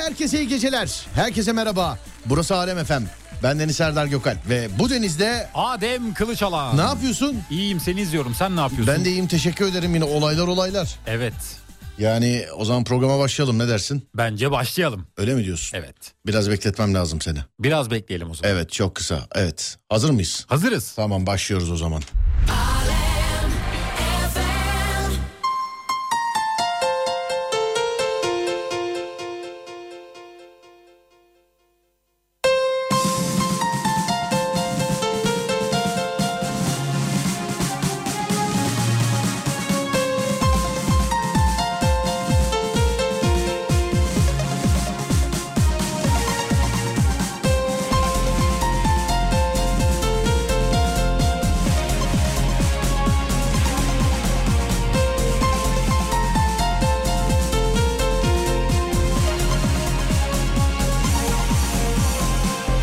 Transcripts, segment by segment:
herkese iyi geceler. Herkese merhaba. Burası Alem Efem. Ben Deniz Serdar Gökalp ve bu denizde Adem Kılıçalan. ne yapıyorsun? İyiyim seni izliyorum. Sen ne yapıyorsun? Ben de iyiyim teşekkür ederim yine olaylar olaylar. Evet. Yani o zaman programa başlayalım ne dersin? Bence başlayalım. Öyle mi diyorsun? Evet. Biraz bekletmem lazım seni. Biraz bekleyelim o zaman. Evet çok kısa. Evet. Hazır mıyız? Hazırız. Tamam başlıyoruz o zaman.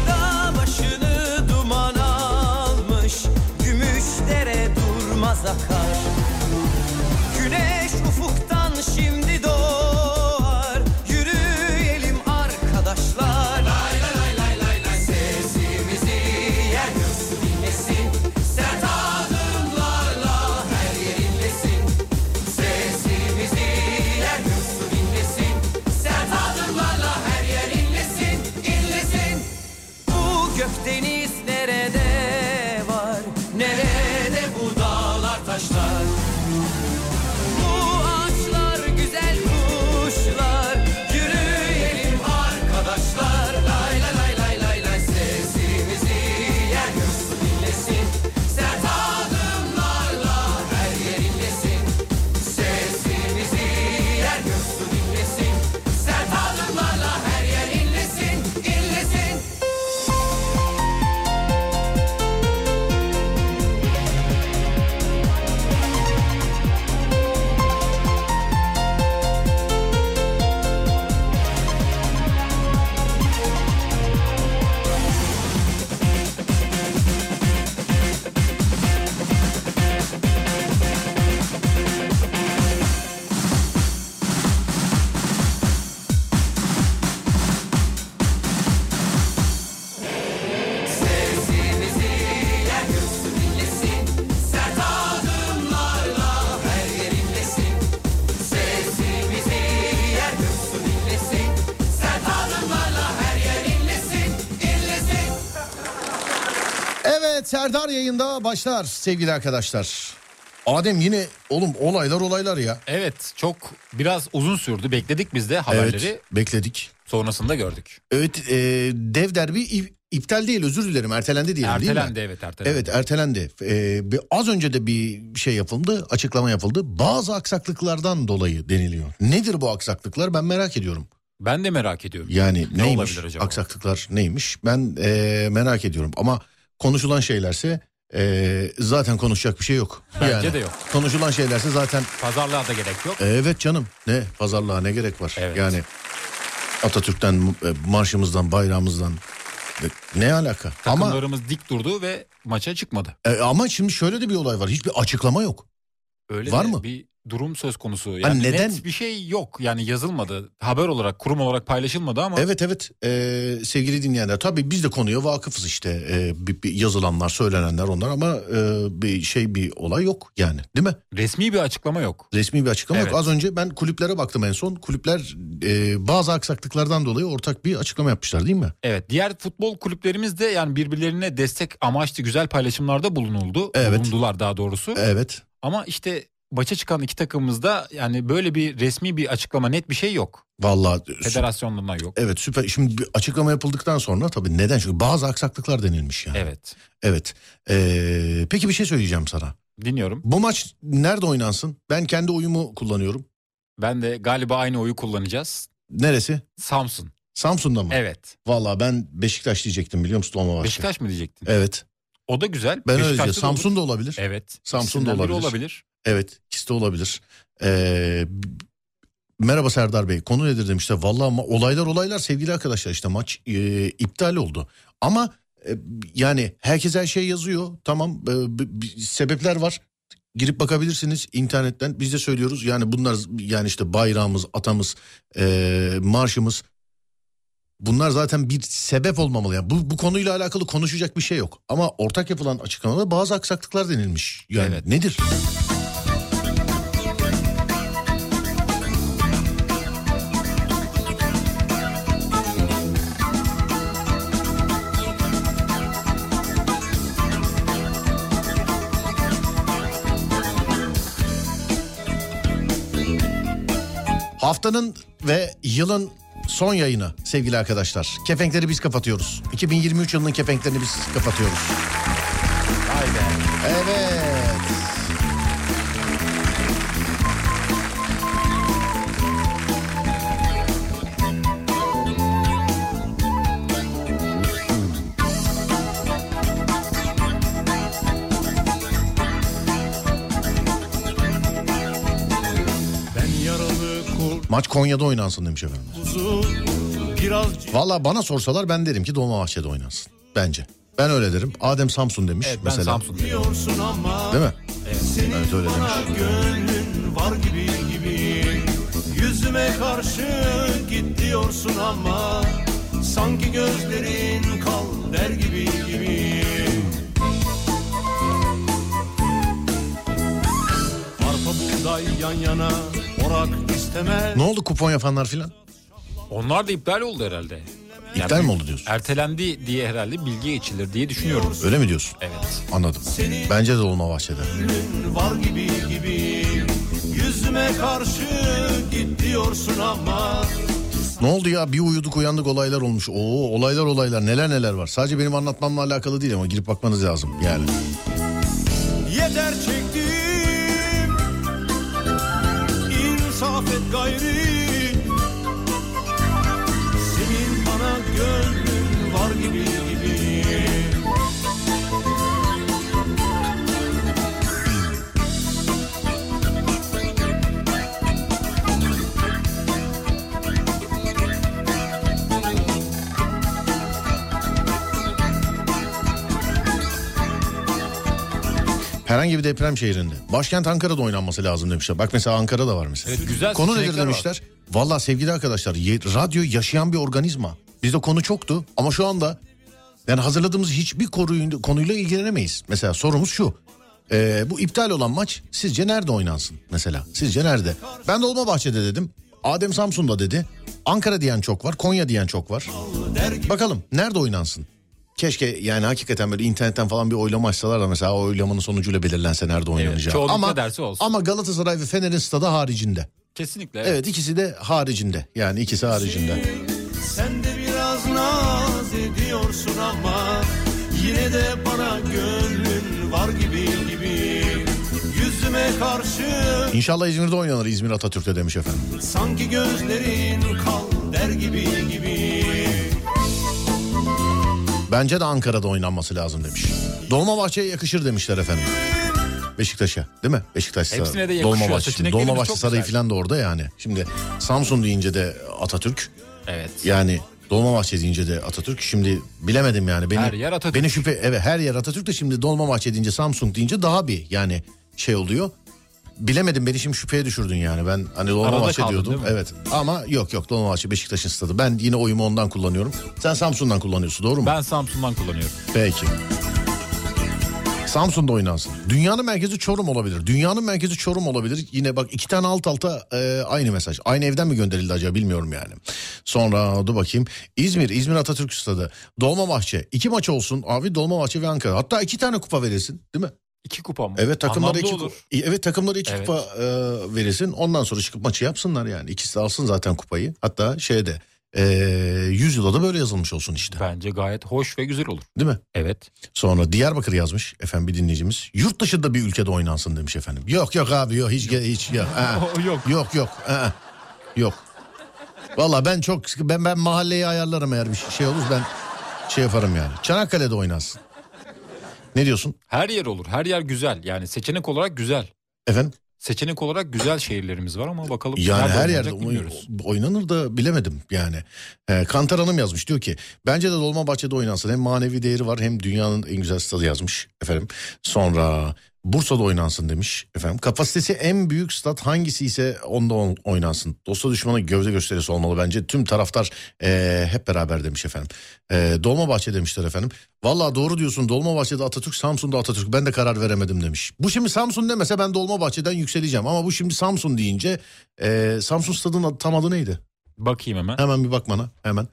Da başını duman almış Gümüşlere durmaz akar Güneş ufuktan şimdi doğar Yürüyelim arkadaşlar Lay lay lay lay lay lay Sesimizi yer göz dinlesin Sert adımlarla her yer inlesin Sesimizi yer göz dinlesin Sert adımlarla her yer inlesin inlesin bu gökdeniz nerede var? Nerede bu dağlar taşlar? Bu ağaçlar güzel kuşlar Yürüyelim arkadaşlar Lay lay lay lay lay lay Sesimizi yer göğsü dinlesin Sert adımlarla her yer inlesin Sesimizi yer göğsü dinlesin Sert adımlarla her yer inlesin inlesin Sesimizi yer göğsü dinlesin Sert adımlarla her yer inlesin Sesimizi yer göğsü dinlesin Sert adımlarla her yer inlesin inlesin Evet Serdar yayında başlar sevgili arkadaşlar. Adem yine oğlum olaylar olaylar ya. Evet çok biraz uzun sürdü. Bekledik biz de haberleri. Evet bekledik. Sonrasında gördük. Evet e, dev derbi ip- iptal değil özür dilerim ertelendi diyelim değil mi? ertelendi evet ertelendi. Evet ertelendi. E, bir- az önce de bir şey yapıldı açıklama yapıldı. Bazı aksaklıklardan dolayı deniliyor. Nedir bu aksaklıklar ben merak ediyorum. Ben de merak ediyorum. Yani Ne neymiş olabilir acaba? aksaklıklar neymiş ben e, merak ediyorum. Ama konuşulan şeylerse e, zaten konuşacak bir şey yok. Bence de yok. Konuşulan şeylerse zaten e, Pazarlığa da gerek yok. Evet canım ne pazarlığa ne gerek var Evet. yani Atatürk'ten e, marşımızdan bayrağımızdan e, ne alaka ama Takımlarımız dik durdu ve maça çıkmadı. e, ama şimdi şöyle de bir olay var hiçbir açıklama yok Öyle Var de mı? bir durum söz konusu. Yani Hani neden- neden? net bir şey yok. Yani yazılmadı. Haber olarak, kurum olarak paylaşılmadı ama evet evet e, sevgili dinleyenler tabii biz de konuya vakıfız işte E, bir- bir yazılanlar söylenenler onlar ama e, bir şey bir olay yok yani değil mi resmi bir açıklama yok. resmi bir açıklama Evet. yok az önce ben kulüplere baktım en son kulüpler e, bazı aksaklıklardan dolayı ortak bir açıklama yapmışlar değil mi Evet diğer futbol kulüplerimiz de yani birbirlerine destek amaçlı güzel paylaşımlarda bulunuldu. Evet. Bulundular daha doğrusu. evet Ama işte maça çıkan iki takımımızda yani böyle bir resmi bir açıklama net bir şey yok. vallahi e, Federasyonluğundan yok. Evet süper. Şimdi bir açıklama yapıldıktan sonra tabii neden? Çünkü bazı aksaklıklar denilmiş yani. Evet. Evet Ee, peki bir şey söyleyeceğim sana. dinliyorum. Bu maç nerede oynansın? Ben kendi oyumu kullanıyorum. Ben de galiba aynı oyu kullanacağız. Neresi? Samsun. Samsun'da mı? Evet. Vallahi ben Beşiktaş diyecektim biliyor musun Dolmabahçe? Beşiktaş mı diyecektin? Evet. O da güzel. Ben öyle Beşiktaş'ta diyeceğim. da Samsun olur. da olabilir. Evet. Evet. Samsun da İkisinden biri olabilir. olabilir. ikisi de olabilir. Ee, b- merhaba Serdar Bey. Konu nedir demişler. Vallahi ma- olaylar olaylar sevgili arkadaşlar işte maç e, iptal oldu. Ama E, yani herkes her şey yazıyor. Tamam e, b- b- sebepler var. Girip bakabilirsiniz internetten. Biz de söylüyoruz yani bunlar yani işte bayrağımız, atamız, e, marşımız Bunlar zaten bir sebep olmamalı. Yani bu, bu konuyla alakalı konuşacak bir şey yok. Ama ortak yapılan açıklamada bazı aksaklıklar denilmiş. Yani Evet. nedir? Haftanın ve yılın son yayını sevgili arkadaşlar. Kefenkleri biz kapatıyoruz. 2023 yılının kefenklerini biz kapatıyoruz. Evet. Ben yaralı Maç Konya'da oynansın demiş efendim. kurzu biraz Valla bana sorsalar ben derim ki Dolmabahçe'de oynansın. Bence. Ben öyle derim. Adem Samsun demiş Evet ben mesela. Samsun dedim. diyorsun ama Değil mi? senin Evet, öyle bana demiş. gönlün var gibi gibi yüzüme karşı git diyorsun ama sanki gözlerin kal der gibi gibi Arpa buğday yan yana orak istemez Ne oldu kupon yapanlar filan? Onlar da iptal oldu herhalde. İptal mi oldu diyorsun? Ertelendi diye herhalde bilgi geçilir diye düşünüyorum. Öyle mi diyorsun? Evet. Anladım. Bence de Dolmabahçe'de. Gönlün var gibi gibi Yüzüme karşı git diyorsun ama Ne oldu ya bir uyuduk uyandık olaylar olmuş. Oo olaylar olaylar neler neler var. Sadece benim anlatmamla alakalı değil ama girip bakmanız lazım yani. Yeter çektim İnsaf et gayri Senin bana gönlün var gibi gibi Herhangi bir deprem şehrinde. Başkent Ankara'da oynanması lazım demişler. Bak mesela Ankara'da var mesela. Evet, güzel Konu nedir seçenekler var. demişler. Valla sevgili arkadaşlar ye- radyo yaşayan bir organizma. Bizde konu çoktu ama şu anda yani hazırladığımız hiçbir konuyu- konuyla ilgilenemeyiz. Mesela sorumuz şu. Ee, bu iptal olan maç sizce nerede oynansın mesela? Sizce nerede? Ben Dolmabahçe'de dedim. Adem Samsun'da dedi. Ankara diyen çok var. Konya diyen çok var. Bakalım nerede oynansın? Keşke yani hakikaten böyle internetten falan bir oylama açsalar da mesela o oylamanın sonucuyla belirlense nerede oynanacağı. çoğunlukla ama, dersi olsun. ama Galatasaray ve Fener'in stadı haricinde. Kesinlikle. Evet. ikisi de haricinde. Yani ikisi haricinde. Sen de biraz naz ediyorsun ama Yine de bana gönlün var gibi gibi Yüzüme karşı İnşallah İzmir'de oynanır İzmir Atatürk'te demiş efendim. sanki gözlerin kal der gibi gibi Bence de Ankara'da oynanması lazım demiş. Dolmabahçe'ye yakışır demişler efendim. Beşiktaş'a değil mi? Beşiktaş Sarayı. Hepsine de yakışıyor. Dolmabahçe. Şimdi Seçeneklerimiz Dolmabahçe çok Sarayı güzel. falan da orada yani. Şimdi Samsun deyince de Atatürk. Evet. Yani Dolmabahçe deyince de Atatürk. Şimdi bilemedim yani. Beni, Her yer Atatürk. Beni şüphe evet her yer Atatürk de şimdi Dolmabahçe deyince Samsung deyince daha bir yani şey oluyor. Bilemedim beni şimdi şüpheye düşürdün yani. Ben hani Dolmabahçe kaldın, diyordum. değil mi? Evet ama yok yok Dolmabahçe Beşiktaş'ın stadı. Ben yine oyumu ondan kullanıyorum. Sen Samsun'dan kullanıyorsun doğru mu? Ben Samsun'dan kullanıyorum. Peki. Samsun'da oynansın. Dünyanın merkezi Çorum olabilir. Dünyanın merkezi Çorum olabilir. Yine bak iki tane alt alta e, aynı mesaj. Aynı evden mi gönderildi acaba bilmiyorum yani. Sonra dur bakayım. İzmir, İzmir Atatürk Stadı. Dolmabahçe. İki maç olsun abi Dolmabahçe ve Ankara. Hatta iki tane kupa verilsin değil mi? İki kupam. Evet takımlara Anlamlı iki, olur. ku- evet, takımlara iki Evet. kupa e, verilsin. Ondan sonra çıkıp maçı yapsınlar yani. İkisi de alsın zaten kupayı. Hatta şeyde e, yüzyıla da böyle yazılmış olsun işte. Bence gayet hoş ve güzel olur. Değil mi? Evet. Sonra Diyarbakır yazmış efendim bir dinleyicimiz. Yurt dışında bir ülkede oynansın demiş efendim. Yok yok abi yok hiç hiç yok. Ha. O yok. Yok yok. ha. Yok. Valla ben çok sıkı- ben ben mahalleyi ayarlarım eğer bir şey olur ben şey yaparım yani. Çanakkale'de oynansın. Ne diyorsun Her yer olur. Her yer güzel. Yani seçenek olarak güzel. efendim? Seçenek olarak güzel şehirlerimiz var ama bakalım. Yani nerede her oynanacak yerde oy- bilmiyoruz. oynanır da bilemedim yani. Ee, Kantar Hanım yazmış diyor ki bence de Dolmabahçe'de oynansın. Hem manevi değeri var hem dünyanın en güzel stadı yazmış efendim. Sonra Bursa'da oynansın demiş efendim. Kapasitesi en büyük stat hangisi ise onda on- oynansın. Dosta düşmana gövde gösterisi olmalı bence. Tüm taraftar eee, hep beraber demiş efendim. Eee Dolmabahçe demişler efendim. Valla doğru diyorsun Dolmabahçe'de Atatürk, Samsun'da Atatürk. Ben de karar veremedim demiş. Bu şimdi Samsun demese ben Dolmabahçe'den yükseleceğim. Ama bu şimdi Samsun deyince eee, Samsun stadının Ee, adı- tam adı neydi? Bakayım hemen. Hemen bir bak bana hemen.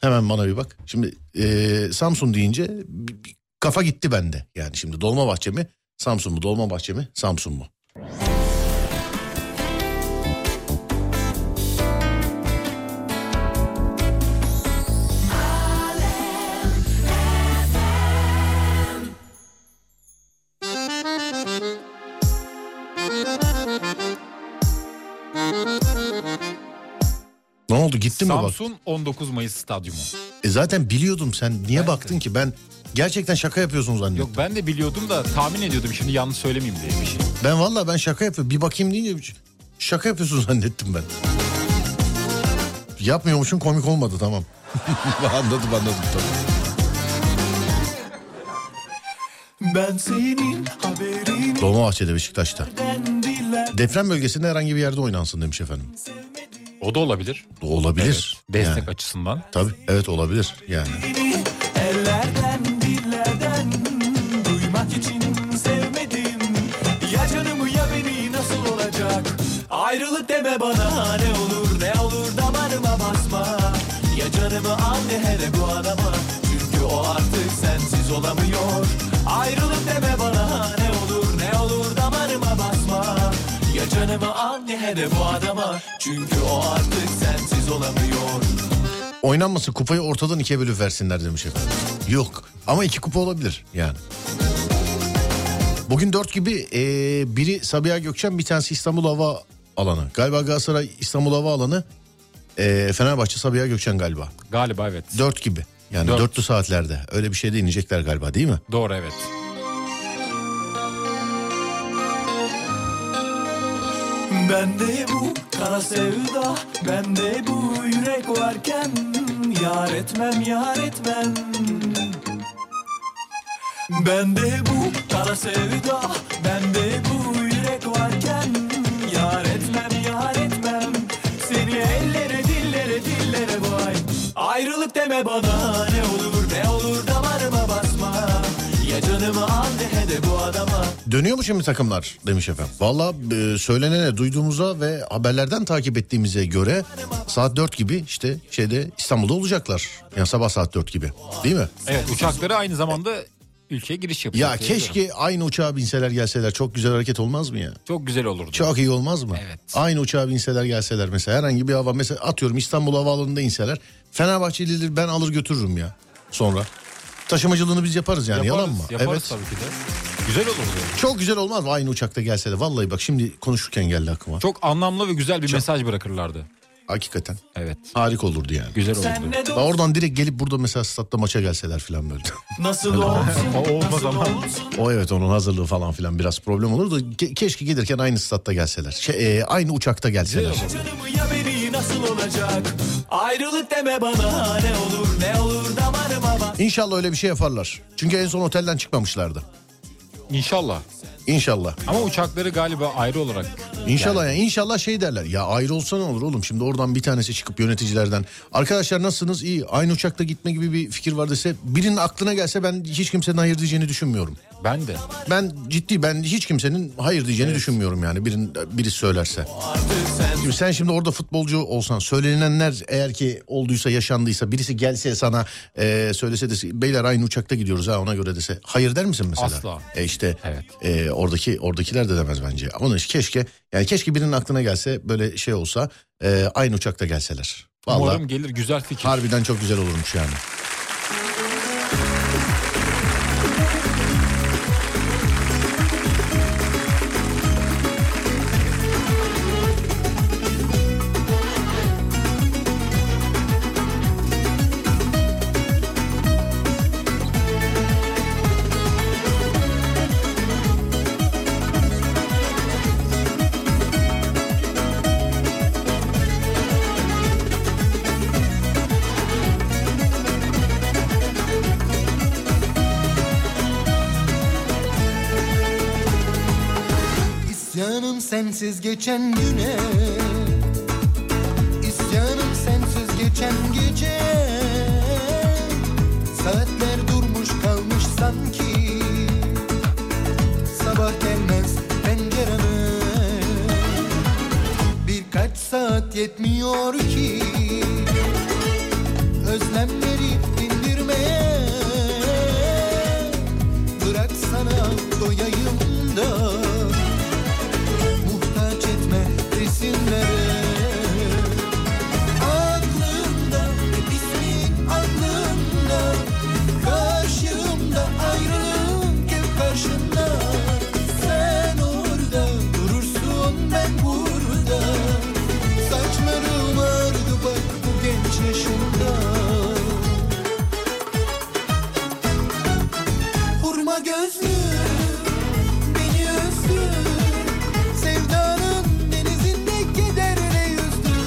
Hemen bana bir bak. Şimdi eee, Samsun deyince bir- bir kafa gitti bende. Yani şimdi Dolmabahçe mi Samsun mu Dolmabahçe mi Samsun mu? Ne oldu gitti mi bak? Samsun 19 Mayıs stadyumu. E zaten biliyordum sen niye baktın ki ben gerçekten şaka yapıyorsun zannediyorum. Yok ben de biliyordum da tahmin ediyordum şimdi yanlış söylemeyeyim diye bir şey. Ben valla ben şaka yapıyorum. Bir bakayım deyince şaka yapıyorsun zannettim ben. Yapmıyormuşum komik olmadı tamam. anladım anladım tamam. Ben senin haberin Dolmabahçe'de Beşiktaş'ta. Deprem bölgesinde herhangi bir yerde oynansın demiş efendim. O da olabilir. Olabilir. Destek Yani. açısından. Tabii evet olabilir yani. ellerden dillerden Duymak için sevmedim Ya canımı ya beni nasıl olacak Ayrılık deme bana ne olur ne olur damarıma basma Ya canımı al ne hele bu adama Çünkü o artık sensiz olamıyor Ayrılık deme bana ne olur ne olur damarıma basma Ya canımı al ne hele bu adama Çünkü o artık sensiz olamıyor Oynanmasın kupayı ortadan ikiye bölüp versinler demiş efendim. Yok ama iki kupa olabilir yani. Bugün dört gibi eee, biri Sabiha Gökçen bir tanesi İstanbul Hava Alanı. Galiba Galatasaray İstanbul Hava Alanı eee, Fenerbahçe Sabiha Gökçen galiba. Galiba evet. Dört gibi yani Dört. dörtlü saatlerde öyle bir şeyde inecekler galiba değil mi? Doğru evet. Bende bu kara sevda, bende bu yürek varken Yar etmem, yar etmem Bende bu kara sevda, bende bu yürek varken Yar etmem, yar etmem Seni ellere, dillere, dillere vay Ayrılık deme bana ne olur ne olur damarıma basma Ya canımı al ne he de bu adama Dönüyor mu şimdi takımlar demiş efendim. Valla e, söylenene duyduğumuza ve haberlerden takip ettiğimize göre saat 4 gibi işte şeyde İstanbul'da olacaklar. Yani sabah saat 4 gibi değil mi? Evet uçakları aynı zamanda ülkeye giriş yapıyor. Ya diye biliyorum. keşke aynı uçağa binseler gelseler çok güzel hareket olmaz mı ya? Çok güzel olurdu. Çok iyi olmaz mı? Evet. Aynı uçağa binseler gelseler mesela herhangi bir hava mesela atıyorum İstanbul Havaalanı'nda inseler. Fenerbahçelileri ben alır götürürüm ya sonra. Taşımacılığını biz yaparız yani yaparız, yalan mı? Yaparız tabii ki de. Güzel olurdu. Çok güzel olmaz mı aynı uçakta gelseler? Vallahi bak şimdi konuşurken geldi aklıma. Çok anlamlı ve güzel bir mesaj bırakırlardı. Hakikaten. Evet. Harika olurdu yani. Güzel Sen olurdu. ne Ya Oradan direkt gelip burada mesela statta maça gelseler filan böyle. Nasıl olsun, O olmaz nasıl ama. olsun o evet onun hazırlığı falan filan biraz problem olur da ke- keşke gelirken aynı statta gelseler. Şey, e, aynı uçakta gelseler. Canımı ya beni nasıl olacak? Ayrılık deme bana ne olur ne olur damarıma bak. İnşallah öyle bir şey yaparlar. Çünkü en son otelden çıkmamışlardı. İnşallah. İnşallah. Ama uçakları galiba ayrı olarak. İnşallah yani inşallah şey derler. Ya ayrı olsa ne olur oğlum? Şimdi oradan bir tanesi çıkıp yöneticilerden arkadaşlar nasılsınız? İyi. Aynı uçakta gitme gibi bir fikir var dese birinin aklına gelse ben hiç kimsenin hayır diyeceğini düşünmüyorum. Ben de. Ben ciddi ben hiç kimsenin hayır diyeceğini düşünmüyorum yani birin, biri söylerse. Şimdi sen şimdi orada futbolcu olsan söylenenler eğer ki olduysa yaşandıysa birisi gelse sana e, söylese dese beyler aynı uçakta gidiyoruz ha ona göre dese hayır der misin mesela? Asla. E işte Evet. e, oradaki oradakiler de demez bence. Onun için keşke yani keşke birinin aklına gelse böyle şey olsa e, aynı uçakta gelseler. Vallahi Umarım gelir güzel fikir. harbiden çok güzel olurmuş yani. sensiz geçen güne İsyanım sensiz geçen gece Saatler durmuş kalmış sanki Sabah gelmez pencereme Birkaç saat yetmiyor ki Özlemleri dindirmeye Bırak sana doyayım da Muhtaç etme resimlere Aklımda hep ismin aklımda Karşımda ayrılık hep karşında Sen orada durursun ben burada Saçlarım ağrıdı bak bu genç yaşımda Hurma gözlü beni üzdün Sevdanın denizinde kederle yüzdün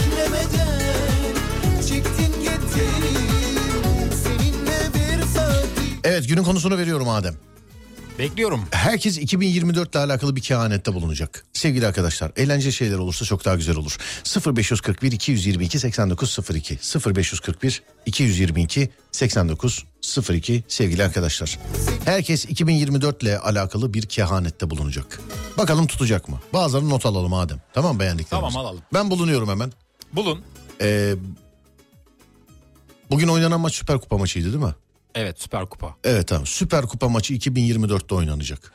Beklemeden çektin gittin Seninle bir saat Evet günün konusunu veriyorum Adem. Bekliyorum. Herkes 2024 ile alakalı bir kehanette bulunacak. Sevgili arkadaşlar eğlence şeyler olursa çok daha güzel olur. 0541 222 8902 0541 222 8902 sevgili arkadaşlar. Herkes 2024 ile alakalı bir kehanette bulunacak. Bakalım tutacak mı? Bazılarını not alalım Adem. Tamam mı beğendiklerimizi. Tamam, alalım. Ben bulunuyorum hemen. Bulun. Ee, bugün oynanan maç Süper Kupa maçıydı değil mi? Evet Süper Kupa. Evet tamam. Süper Kupa maçı 2024'te oynanacak.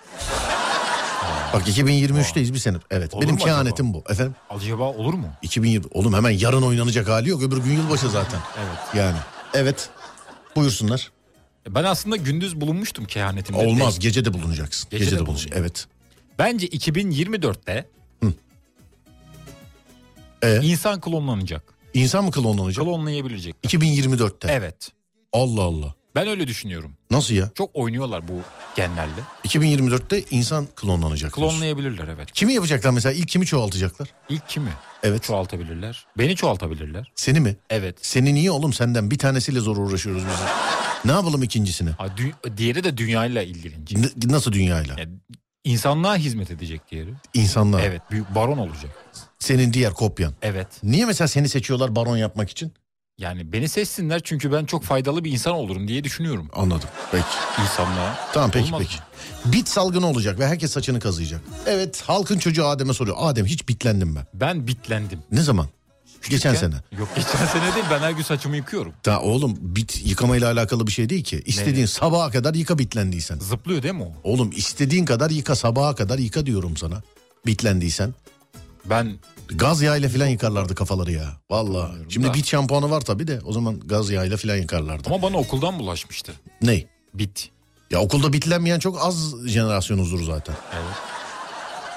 Bak 2023'teyiz bir sene. Evet. Olur benim mu acaba? kehanetim bu. Efendim Acaba olur mu? 2020 oğlum hemen yarın oynanacak hali yok. Öbür gün yılbaşı zaten. Evet. Yani. Evet. Buyursunlar. E, Ben aslında gündüz bulunmuştum kehanetimde. Olmaz. Değil. Gece de bulunacaksın. Gece, Gece de, de bulunacaksın. Evet. Bence 2024'te Ee? insan klonlanacak. İnsan mı klonlanacak? Klonlayabilecek. 2024'te. Evet. Allah Allah. Ben öyle düşünüyorum. Nasıl ya? Çok oynuyorlar bu genlerle. 2024'te insan klonlanacak. diyorsun. Klonlayabilirler evet. Kimi yapacaklar mesela? İlk kimi çoğaltacaklar? İlk kimi? Evet. Çoğaltabilirler. Beni çoğaltabilirler. Seni mi? Evet. Seni niye oğlum senden? Bir tanesiyle zor uğraşıyoruz biz. ne yapalım ikincisini? Ha, dü- diğeri de dünyayla ilgilenecek. N- nasıl dünyayla? Yani insanlığa hizmet edecek diğeri. İnsanlar. Evet. Büyük baron olacak. Senin diğer kopyan. Evet. Niye mesela seni seçiyorlar baron yapmak için? Yani beni seçsinler çünkü ben çok faydalı bir insan olurum diye düşünüyorum Anladım. Peki. insanlığa. Tamam peki Olmaz peki. mı? Bit salgını olacak ve herkes saçını kazıyacak. Evet halkın çocuğu Adem'e soruyor. Adem hiç bitlendim ben. Ben bitlendim. Ne zaman? geçen Küçükken- sene. Yok geçen sene değil ben her gün saçımı yıkıyorum. Daha oğlum bit yıkamayla alakalı bir şey değil ki. İstediğin sabaha kadar yıka bitlendiysen. Zıplıyor değil mi o? Oğlum istediğin kadar yıka sabaha kadar yıka diyorum sana. Bitlendiysen. Ben Gaz yağıyla falan yıkarlardı kafaları ya. Vallahi. Şimdi da. bit şampuanı var tabii de o zaman gaz yağıyla falan yıkarlardı. ama bana okuldan bulaşmıştı. Ney? Bit. Ya okulda bitlenmeyen çok az jenerasyonuzdur zaten. Evet.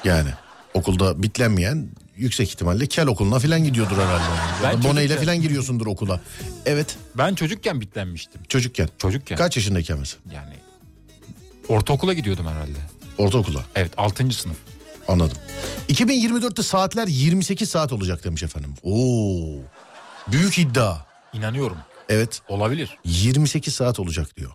Yani okulda bitlenmeyen yüksek ihtimalle kel okuluna falan gidiyordur herhalde. Ben Yani. Boneyle çocukken- falan giriyorsundur okula. Evet Ben çocukken bitlenmiştim. çocukken. Çocukken. Kaç yaşındayken mesela? Yani ortaokula gidiyordum herhalde. Ortaokula Evet 6. sınıf. anladım. 2024'te saatler 28 saat olacak demiş efendim. Oo büyük iddia. İnanıyorum. Evet Olabilir. 28 saat olacak diyor.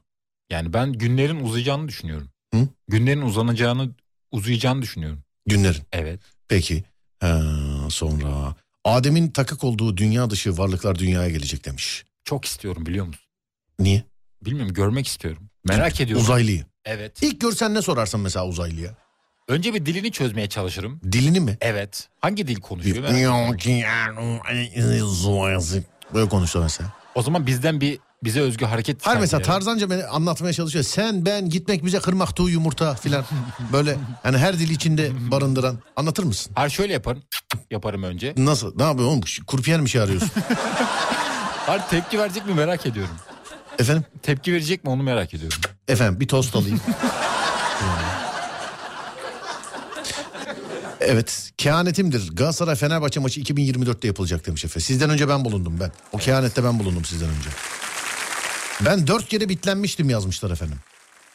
Yani ben günlerin uzayacağını düşünüyorum. Hı? Günlerin uzanacağını, uzayacağını düşünüyorum. Günlerin. Evet. Peki Ha, sonra Adem'in takık olduğu dünya dışı varlıklar dünyaya gelecek demiş. Çok istiyorum biliyor musun? Niye? Bilmiyorum görmek istiyorum. Merak ediyorum. Uzaylıyı. Evet. İlk görsen ne sorarsın mesela uzaylıya? Önce bir dilini çözmeye çalışırım. Dilini mi? Evet. Hangi dil konuşuyor? merak ediyorum. Böyle konuştu mesela. O zaman bizden bir bize özgü hareket. Hayır mesela sergileyelim. Tarzanca beni anlatmaya çalışıyor. Sen, ben, gitmek, bize kırmak, tuğ, yumurta filan. Böyle hani her dil içinde barındıran. Anlatır mısın? Hayır şöyle yaparım. Yaparım önce. Nasıl? Ne yapıyorsun oğlum? Kurpiyer mi şey arıyorsun? Hayır tepki verecek mi merak ediyorum. efendim? Tepki verecek mi onu merak ediyorum. Efendim bir tost alayım. evet. Kehanetimdir. Galatasaray Fenerbahçe maçı 2024'te yapılacak demiş Efe. Sizden önce ben bulundum ben. O kehanette ben bulundum sizden önce. Ben dört kere bitlenmiştim yazmışlar efendim.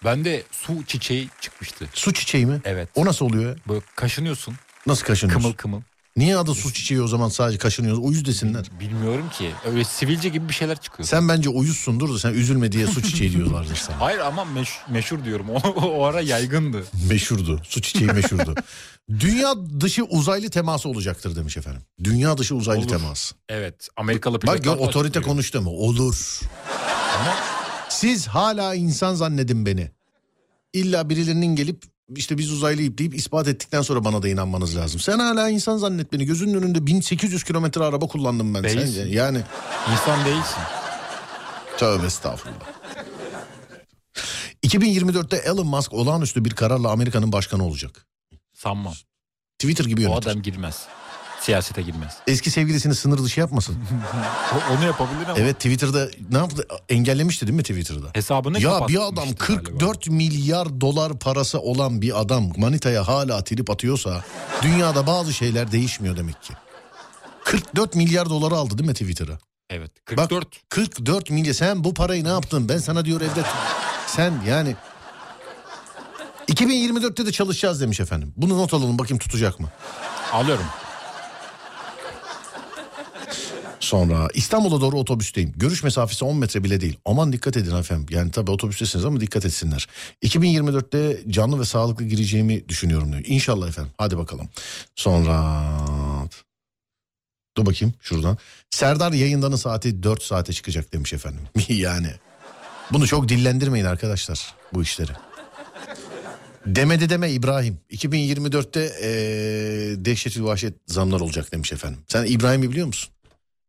Bende su çiçeği çıkmıştı. Su çiçeği mi? Evet. O nasıl oluyor? ya? Böyle kaşınıyorsun. Nasıl kaşınıyorsun? Kımıl kımıl. Niye adı su çiçeği o zaman sadece kaşınıyoruz? Uyuz desinler. Bilmiyorum ki. Öyle sivilce gibi bir şeyler çıkıyor. Sen bence uyuzsundur da sen üzülme diye su çiçeği diyorlardır sana. Hayır ama meş- meşhur diyorum. O, o ara yaygındı. Meşhurdu. Su çiçeği meşhurdu. Dünya dışı uzaylı teması olacaktır demiş efendim. Dünya dışı uzaylı Olur. teması. Evet. Amerikalı Bak gör pilotlar da otorite açıklıyor. konuştu mu? Olur. Ama siz hala insan zannedin beni. İlla birilerinin gelip işte biz uzaylıyıp deyip ispat ettikten sonra bana da inanmanız lazım. Sen hala insan zannet beni. Gözünün önünde 1800 kilometre araba kullandım ben. Değilsin. Sen, yani İnsan değilsin. Tövbe estağfurullah. 2024'te Elon Musk olağanüstü bir kararla Amerika'nın başkanı olacak. Sanmam. Twitter gibi O yönetir. adam girmez. Siyasete girmez. Eski sevgilisini sınır dışı yapmasın. O- onu yapabilir ama evet Twitter'da ne yaptı? Engellemişti değil mi Twitter'da? hesabını Ya bir kapatmıştı adam galiba. 44 milyar dolar parası olan bir adam manitaya hala trip atıyorsa dünyada bazı şeyler değişmiyor demek ki. 44 milyar doları aldı değil mi Twitter'a? Evet. Bak 44. 44 milyar sen bu parayı ne yaptın? Ben sana diyor evde sen yani 2024'te de çalışacağız demiş efendim. Bunu not alalım bakayım tutacak mı? Alıyorum. Sonra İstanbul'a doğru otobüsteyim. Görüş mesafesi 10 metre bile değil. Aman dikkat edin efendim. Yani tabii otobüstesiniz ama dikkat etsinler. 2024'te canlı ve sağlıklı gireceğimi düşünüyorum diyor. İnşallah efendim. Hadi bakalım. Sonra... Dur bakayım şuradan. Serdar yayındanın saati 4 saate çıkacak demiş efendim. yani. Bunu çok dillendirmeyin arkadaşlar bu işleri. Demedi deme İbrahim. 2024'te eee dehşetül vahşet zamlar olacak demiş efendim. Sen İbrahim'i biliyor musun?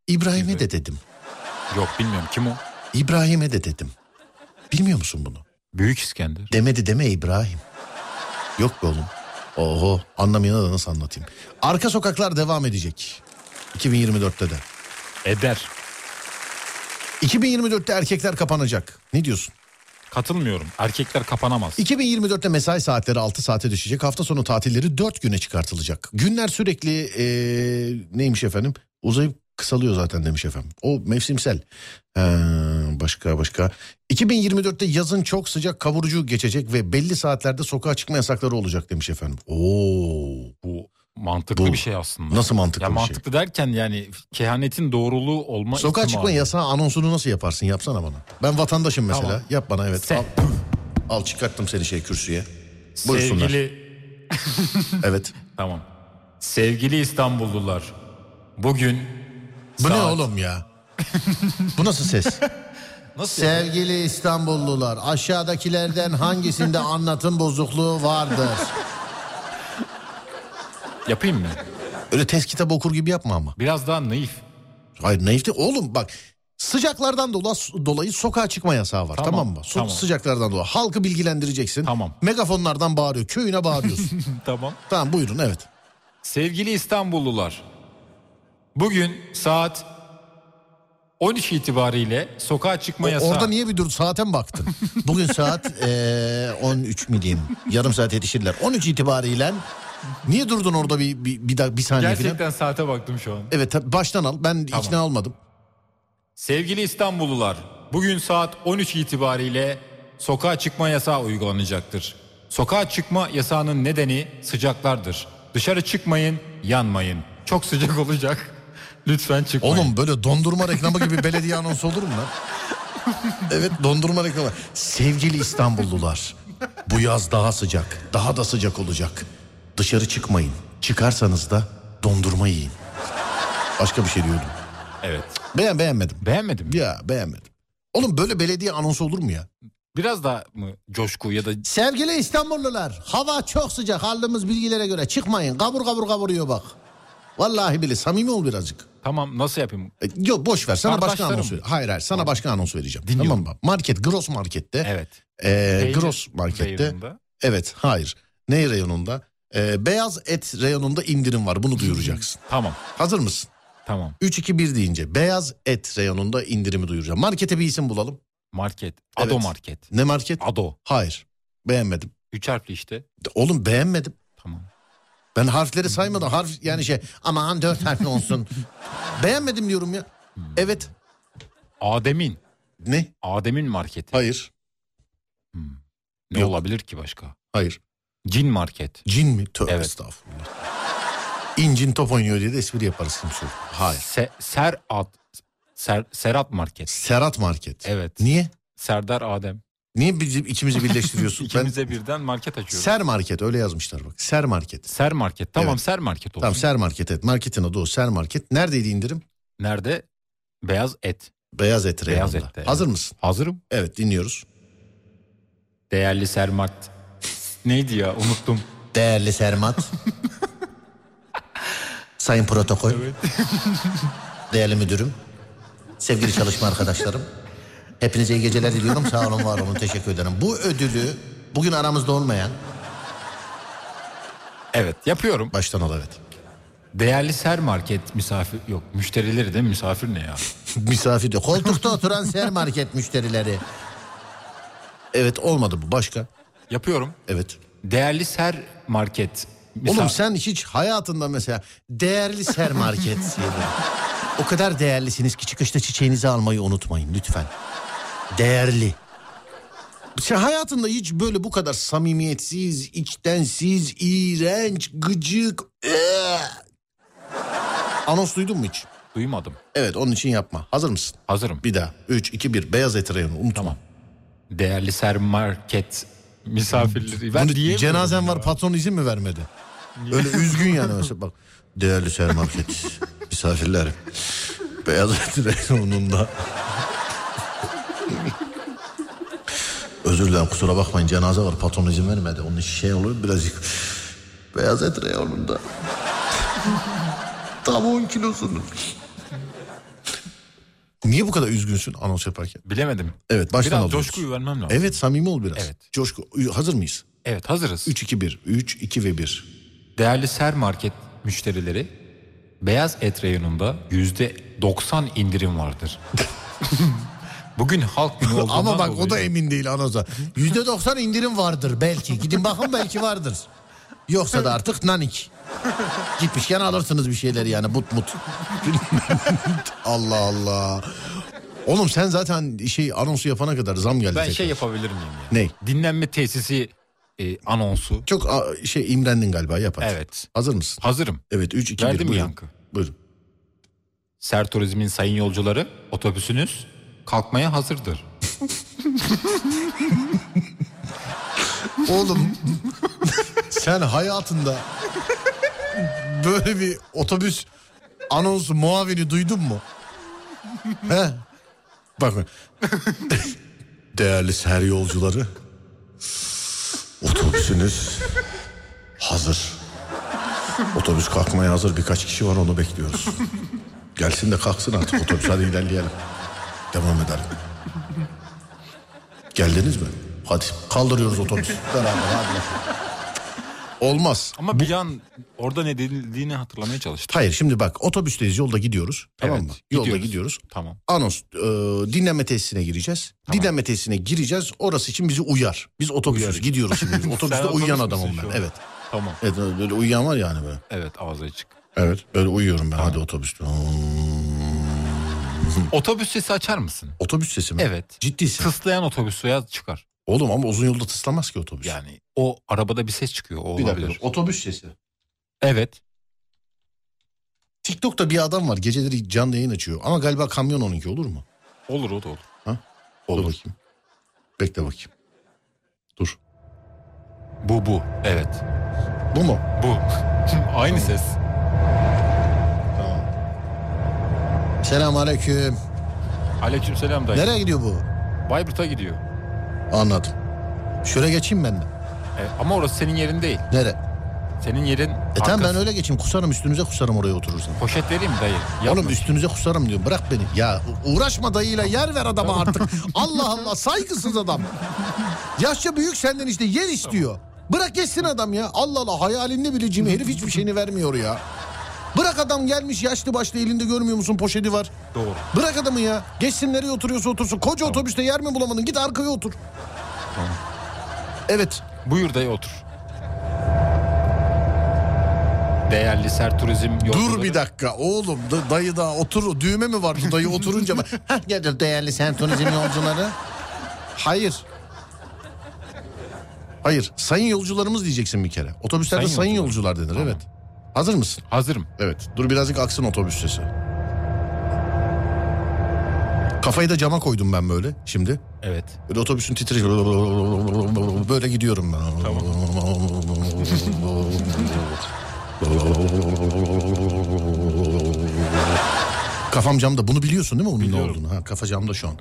İbrahim'e de dedim. Yok bilmiyorum kim o? İbrahim'e de dedim. Bilmiyor musun bunu? Büyük İskender. Demedi deme İbrahim. Yok be oğlum. Oho anlamayana da nasıl anlatayım. Arka sokaklar devam edecek. 2024'te de. Eder. 2024'te erkekler kapanacak. Ne diyorsun? Katılmıyorum. Erkekler kapanamaz. 2024'te mesai saatleri 6 saate düşecek. Hafta sonu tatilleri 4 güne çıkartılacak. Günler sürekli eee, neymiş efendim? Uzayıp kısalıyor zaten demiş efendim. O mevsimsel. Ee, başka başka. 2024'te yazın çok sıcak kavurucu geçecek ve belli saatlerde sokağa çıkma yasakları olacak demiş efendim. Oo. Bu mantıklı Bu- bir şey aslında. Nasıl mantıklı Ya bir şey? mantıklı derken yani kehanetin doğruluğu olma Sokağa ihtimali. çıkma yasağı anonsunu nasıl yaparsın? Yapsana bana. Ben vatandaşım mesela. Tamam. Yap bana evet. Sen- Al, al çıkarttım seni şey kürsüye. Buyursunlar. Sevgili Evet. tamam. Sevgili İstanbullular. Bugün Bu ne saat- oğlum ya? Bu nasıl ses? Nasıl? Sevgili İstanbullular, aşağıdakilerden hangisinde anlatım bozukluğu vardır? Yapayım mı? Öyle test kitabı okur gibi yapma ama. Biraz daha naif. Hayır naif değil. Oğlum bak sıcaklardan dola- dolayı sokağa çıkma yasağı var tamam, Tamam, mı? So- tamam. Sıcaklardan dolayı. Halkı bilgilendireceksin. Tamam. Megafonlardan bağırıyor. Köyüne bağırıyorsun. Tamam. tamam buyurun evet. Sevgili İstanbullular. Bugün saat 13 itibariyle sokağa çıkma yasağı. Orada niye bir dur saate mi baktın? Bugün saat eee 13 mi diyeyim? Yarım saat yetişirler. 13 itibariyle niye durdun orada bir bir, bir, dak- bir saniye Gerçekten falan? saate baktım şu an. Evet tabii baştan al. Ben ikna olmadım. Sevgili İstanbullular, bugün saat 13 itibariyle sokağa çıkma yasağı uygulanacaktır. Sokağa çıkma yasağının nedeni sıcaklardır. Dışarı çıkmayın, yanmayın. Çok sıcak olacak. Lütfen çıkmayın. Oğlum böyle dondurma reklamı gibi belediye anonsu olur mu lan? Evet dondurma reklamı. Sevgili İstanbullular bu yaz daha sıcak daha da sıcak olacak. Dışarı çıkmayın çıkarsanız da dondurma yiyin. Başka bir şey diyordum. Evet. Beğen beğenmedim. Beğenmedin mi? Ya beğenmedim. Oğlum böyle belediye anonsu olur mu ya? Biraz daha mı coşku ya da Sevgili İstanbullular hava çok sıcak aldığımız bilgilere göre çıkmayın. Kabur kabur kavuruyor bak. Vallahi bile samimi ol birazcık. tamam nasıl yapayım? E, Yok boş ver sana başka Kardeşlerim. anons ver. Hayır hayır sana başka anons vereceğim. Dinliyorum. Tamam mı? Market Gross Market'te. Evet. e, Peynir Gross Market'te. reyonunda. Evet hayır. Ne reyonunda? E, beyaz et reyonunda indirim var bunu duyuracaksın. Tamam, Hazır mısın? tamam. 3-2-1 deyince beyaz et reyonunda indirimi duyuracağım. Markete bir isim bulalım. Market. Ado Evet. market. Ne market? Ado. Hayır beğenmedim. Üç harfli işte. Oğlum beğenmedim. Tamam. Ben harfleri saymadım. Harf yani şey aman dört harfli olsun. beğenmedim diyorum ya. Evet. Adem'in. Ne? Adem'in marketi. Hayır. Ne Yok. olabilir ki başka? Hayır. Cin market. Cin mi? Tövbe Evet. estağfurullah. İncin top oynuyor diye de espri yaparız kimse. yok. Hayır. Se- Serat Ser- Serat Market. Serhat Market. Evet. Niye? Serdar Adem. Niye bizim ikimizi birleştiriyorsun? ben İkimize birden market açıyoruz. Ser, Ser Market öyle yazmışlar bak. Ser Market. Market. Tamam Evet. Ser Market olsun. Tamam Ser Market evet. Marketin adı o Ser Market. Neredeydi indirim? Nerede? Beyaz et. Beyaz et Beyaz reyonunda. Et'te, Hazır mısın? Hazırım. Evet dinliyoruz. Değerli Sermat. Neydi ya unuttum. Değerli Sermat. Sayın protokol. Değerli müdürüm. Sevgili çalışma arkadaşlarım. Hepinize iyi geceler diliyorum. Sağ olun var olun teşekkür ederim. Bu ödülü bugün aramızda olmayan... Evet yapıyorum. Baştan al evet. Değerli Ser Market misafir yok müşterileri de misafir ne ya? Misafir diyor. Koltukta oturan ser market müşterileri. Evet olmadı bu başka. Yapıyorum. Evet. Değerli Ser Market misafir. Oğlum sen hiç hayatında mesela değerli ser market yedin. O kadar değerlisiniz ki çıkışta çiçeğinizi almayı unutmayın lütfen. Değerli. Sen hayatında hiç böyle bu kadar samimiyetsiz, içtensiz, iğrenç, gıcık... eee! Anons duydun mu hiç? Duymadım. Evet onun için yapma. Hazır mısın? Hazırım. Bir daha. 3, 2, 1. Beyaz et reyonu unutma. Değerli Ser Market misafirleri. Ben Bunu diyemiyorum cenazen ya. var patron izin mi vermedi? Öyle üzgün yani mesela bak. Değerli Ser Market misafirlerim. Beyaz et reyonunda. Özür dilerim kusura bakmayın cenaze var patron izin vermedi. Onun için şey oluyor birazcık. Beyaz et reyonunda. Tam 10 kilosunu. Niye bu kadar üzgünsün anons yaparken? Bilemedim. Evet baştan Biraz alıyoruz. coşkuyu vermem lazım. Evet samimi ol biraz. Evet. Coşku hazır mıyız? Evet hazırız. 3 2 1 3 2 ve 1. Değerli Ser Market müşterileri, beyaz et reyonunda yüzde 90 indirim vardır. Bugün halk günü olduğundan Ama bak o da dolayı- emin değil anonsa. %90 indirim vardır belki. Gidin bakın belki vardır. Yoksa da artık nanik. Gitmişken alırsınız bir şeyleri yani but mut. Allah Allah. Oğlum sen zaten şey anonsu yapana kadar zam geldi. Ben tekrar. şey yapabilir miyim ya? Ney? Dinlenme tesisi e, anonsu. Çok a- şey imrendin galiba yap hadi. Evet. Hazır mısın? Hazırım. Evet 3 2 Verdi 1 mi buyurun. yankı? Buyurun. Ser Turizm'in sayın yolcuları, otobüsünüz kalkmaya hazırdır. Oğlum sen hayatında böyle bir otobüs anonsu muavini duydun mu? He? Bak değerli ser yolcuları otobüsünüz hazır. Otobüs kalkmaya hazır birkaç kişi var onu bekliyoruz. Gelsin de kalksın artık otobüs hadi ilerleyelim. Devam edelim. Geldiniz mi? Hadi kaldırıyoruz otobüs. Beraber hadi. Olmaz. Ama bir an orada ne dediğini hatırlamaya çalıştım. Hayır şimdi bak otobüsteyiz yolda gidiyoruz. Tamam Evet, mı? Yolda gidiyoruz. gidiyoruz. Tamam. Anons e, dinleme tesisine gireceğiz. Dinleme tesisine gireceğiz. Orası için bizi uyar. Biz otobüsüz Uyarız. gidiyoruz şimdi. Biz Otobüste Sen uyuyan otobüs adamım müsün ben. şu an? Evet. Tamam. Evet e, böyle uyuyan var yani böyle. Evet ağzı açık. Evet böyle uyuyorum ben hadi otobüste. Otobüs sesi açar mısın? Otobüs sesi mi? Evet. Ciddisin. Tıslayan otobüs veya çıkar. Oğlum ama uzun yolda tıslamaz ki otobüs. Yani o arabada bir ses çıkıyor. O bir olabilir. dakika. Otobüs sesi. Evet. TikTok'ta bir adam var geceleri canlı yayın açıyor. Ama galiba kamyon onunki olur mu? Olur o da olur. Olur. bakayım. Bekle bakayım. Dur. Bu bu. Evet. Bu mu? Bu. Aynı ses. Selamun aleyküm. Aleykümselam dayı. Nereye gidiyor bu? Bayburt'a gidiyor. Anladım. Şöyle geçeyim ben de. E, ama orası senin yerin değil. Nere? Senin yerin E tamam ben arkası. öyle geçeyim. Kusarım üstünüze kusarım oraya oturursan. Poşet vereyim mi dayı? Yapma. Oğlum üstünüze kusarım diyorum. Bırak beni. Ya uğraşma dayıyla yer ver adama artık. Allah Allah saygısız adam. Yaşça büyük senden işte yer istiyor. Bırak geçsin adam ya. Allah Allah hayalinde bile cimi herif hiçbir şeyini vermiyor ya. Bırak adam gelmiş yaşlı başlı elinde görmüyor musun poşeti var. Doğru. Bırak adamı ya. Geçsin nereye oturuyorsa otursun. Koca otobüste yer mi bulamadın? Git arkaya otur. Evet. Buyur dayı otur. Değerli Ser Turizm yolcuları. Dur bir dakika oğlum Da- dayı daha otur düğme mi var bu dayı oturunca mı? Heh geldi değerli sen turizm yolcuları. Hayır. Hayır sayın yolcularımız diyeceksin bir kere. Otobüslerde sayın, Sayın yolcular denir evet. Hazır mısın? Hazırım. Evet. Dur birazcık aksın otobüs sesi. Kafayı da cama koydum ben böyle şimdi. Evet. Böyle otobüsün titreşi böyle gidiyorum ben. Tamam. Kafam camda bunu biliyorsun değil mi onun Biliyorum. ne olduğunu? Ha, kafa camda şu an.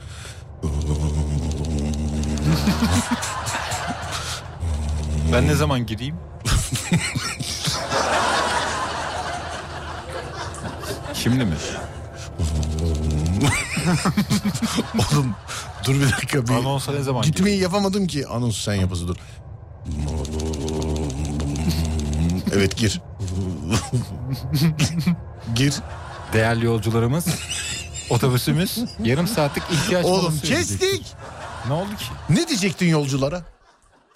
Ben ne zaman gireyim? Şimdi mi? Oğlum dur bir dakika bir Anonsa ne zaman gitmeyi yapamadım ki anonsu sen yapası dur. evet gir. gir. Değerli yolcularımız, otobüsümüz yarım saatlik ihtiyaç Oğlum molası verecek. kestik. Ne oldu ki? Ne diyecektin yolculara?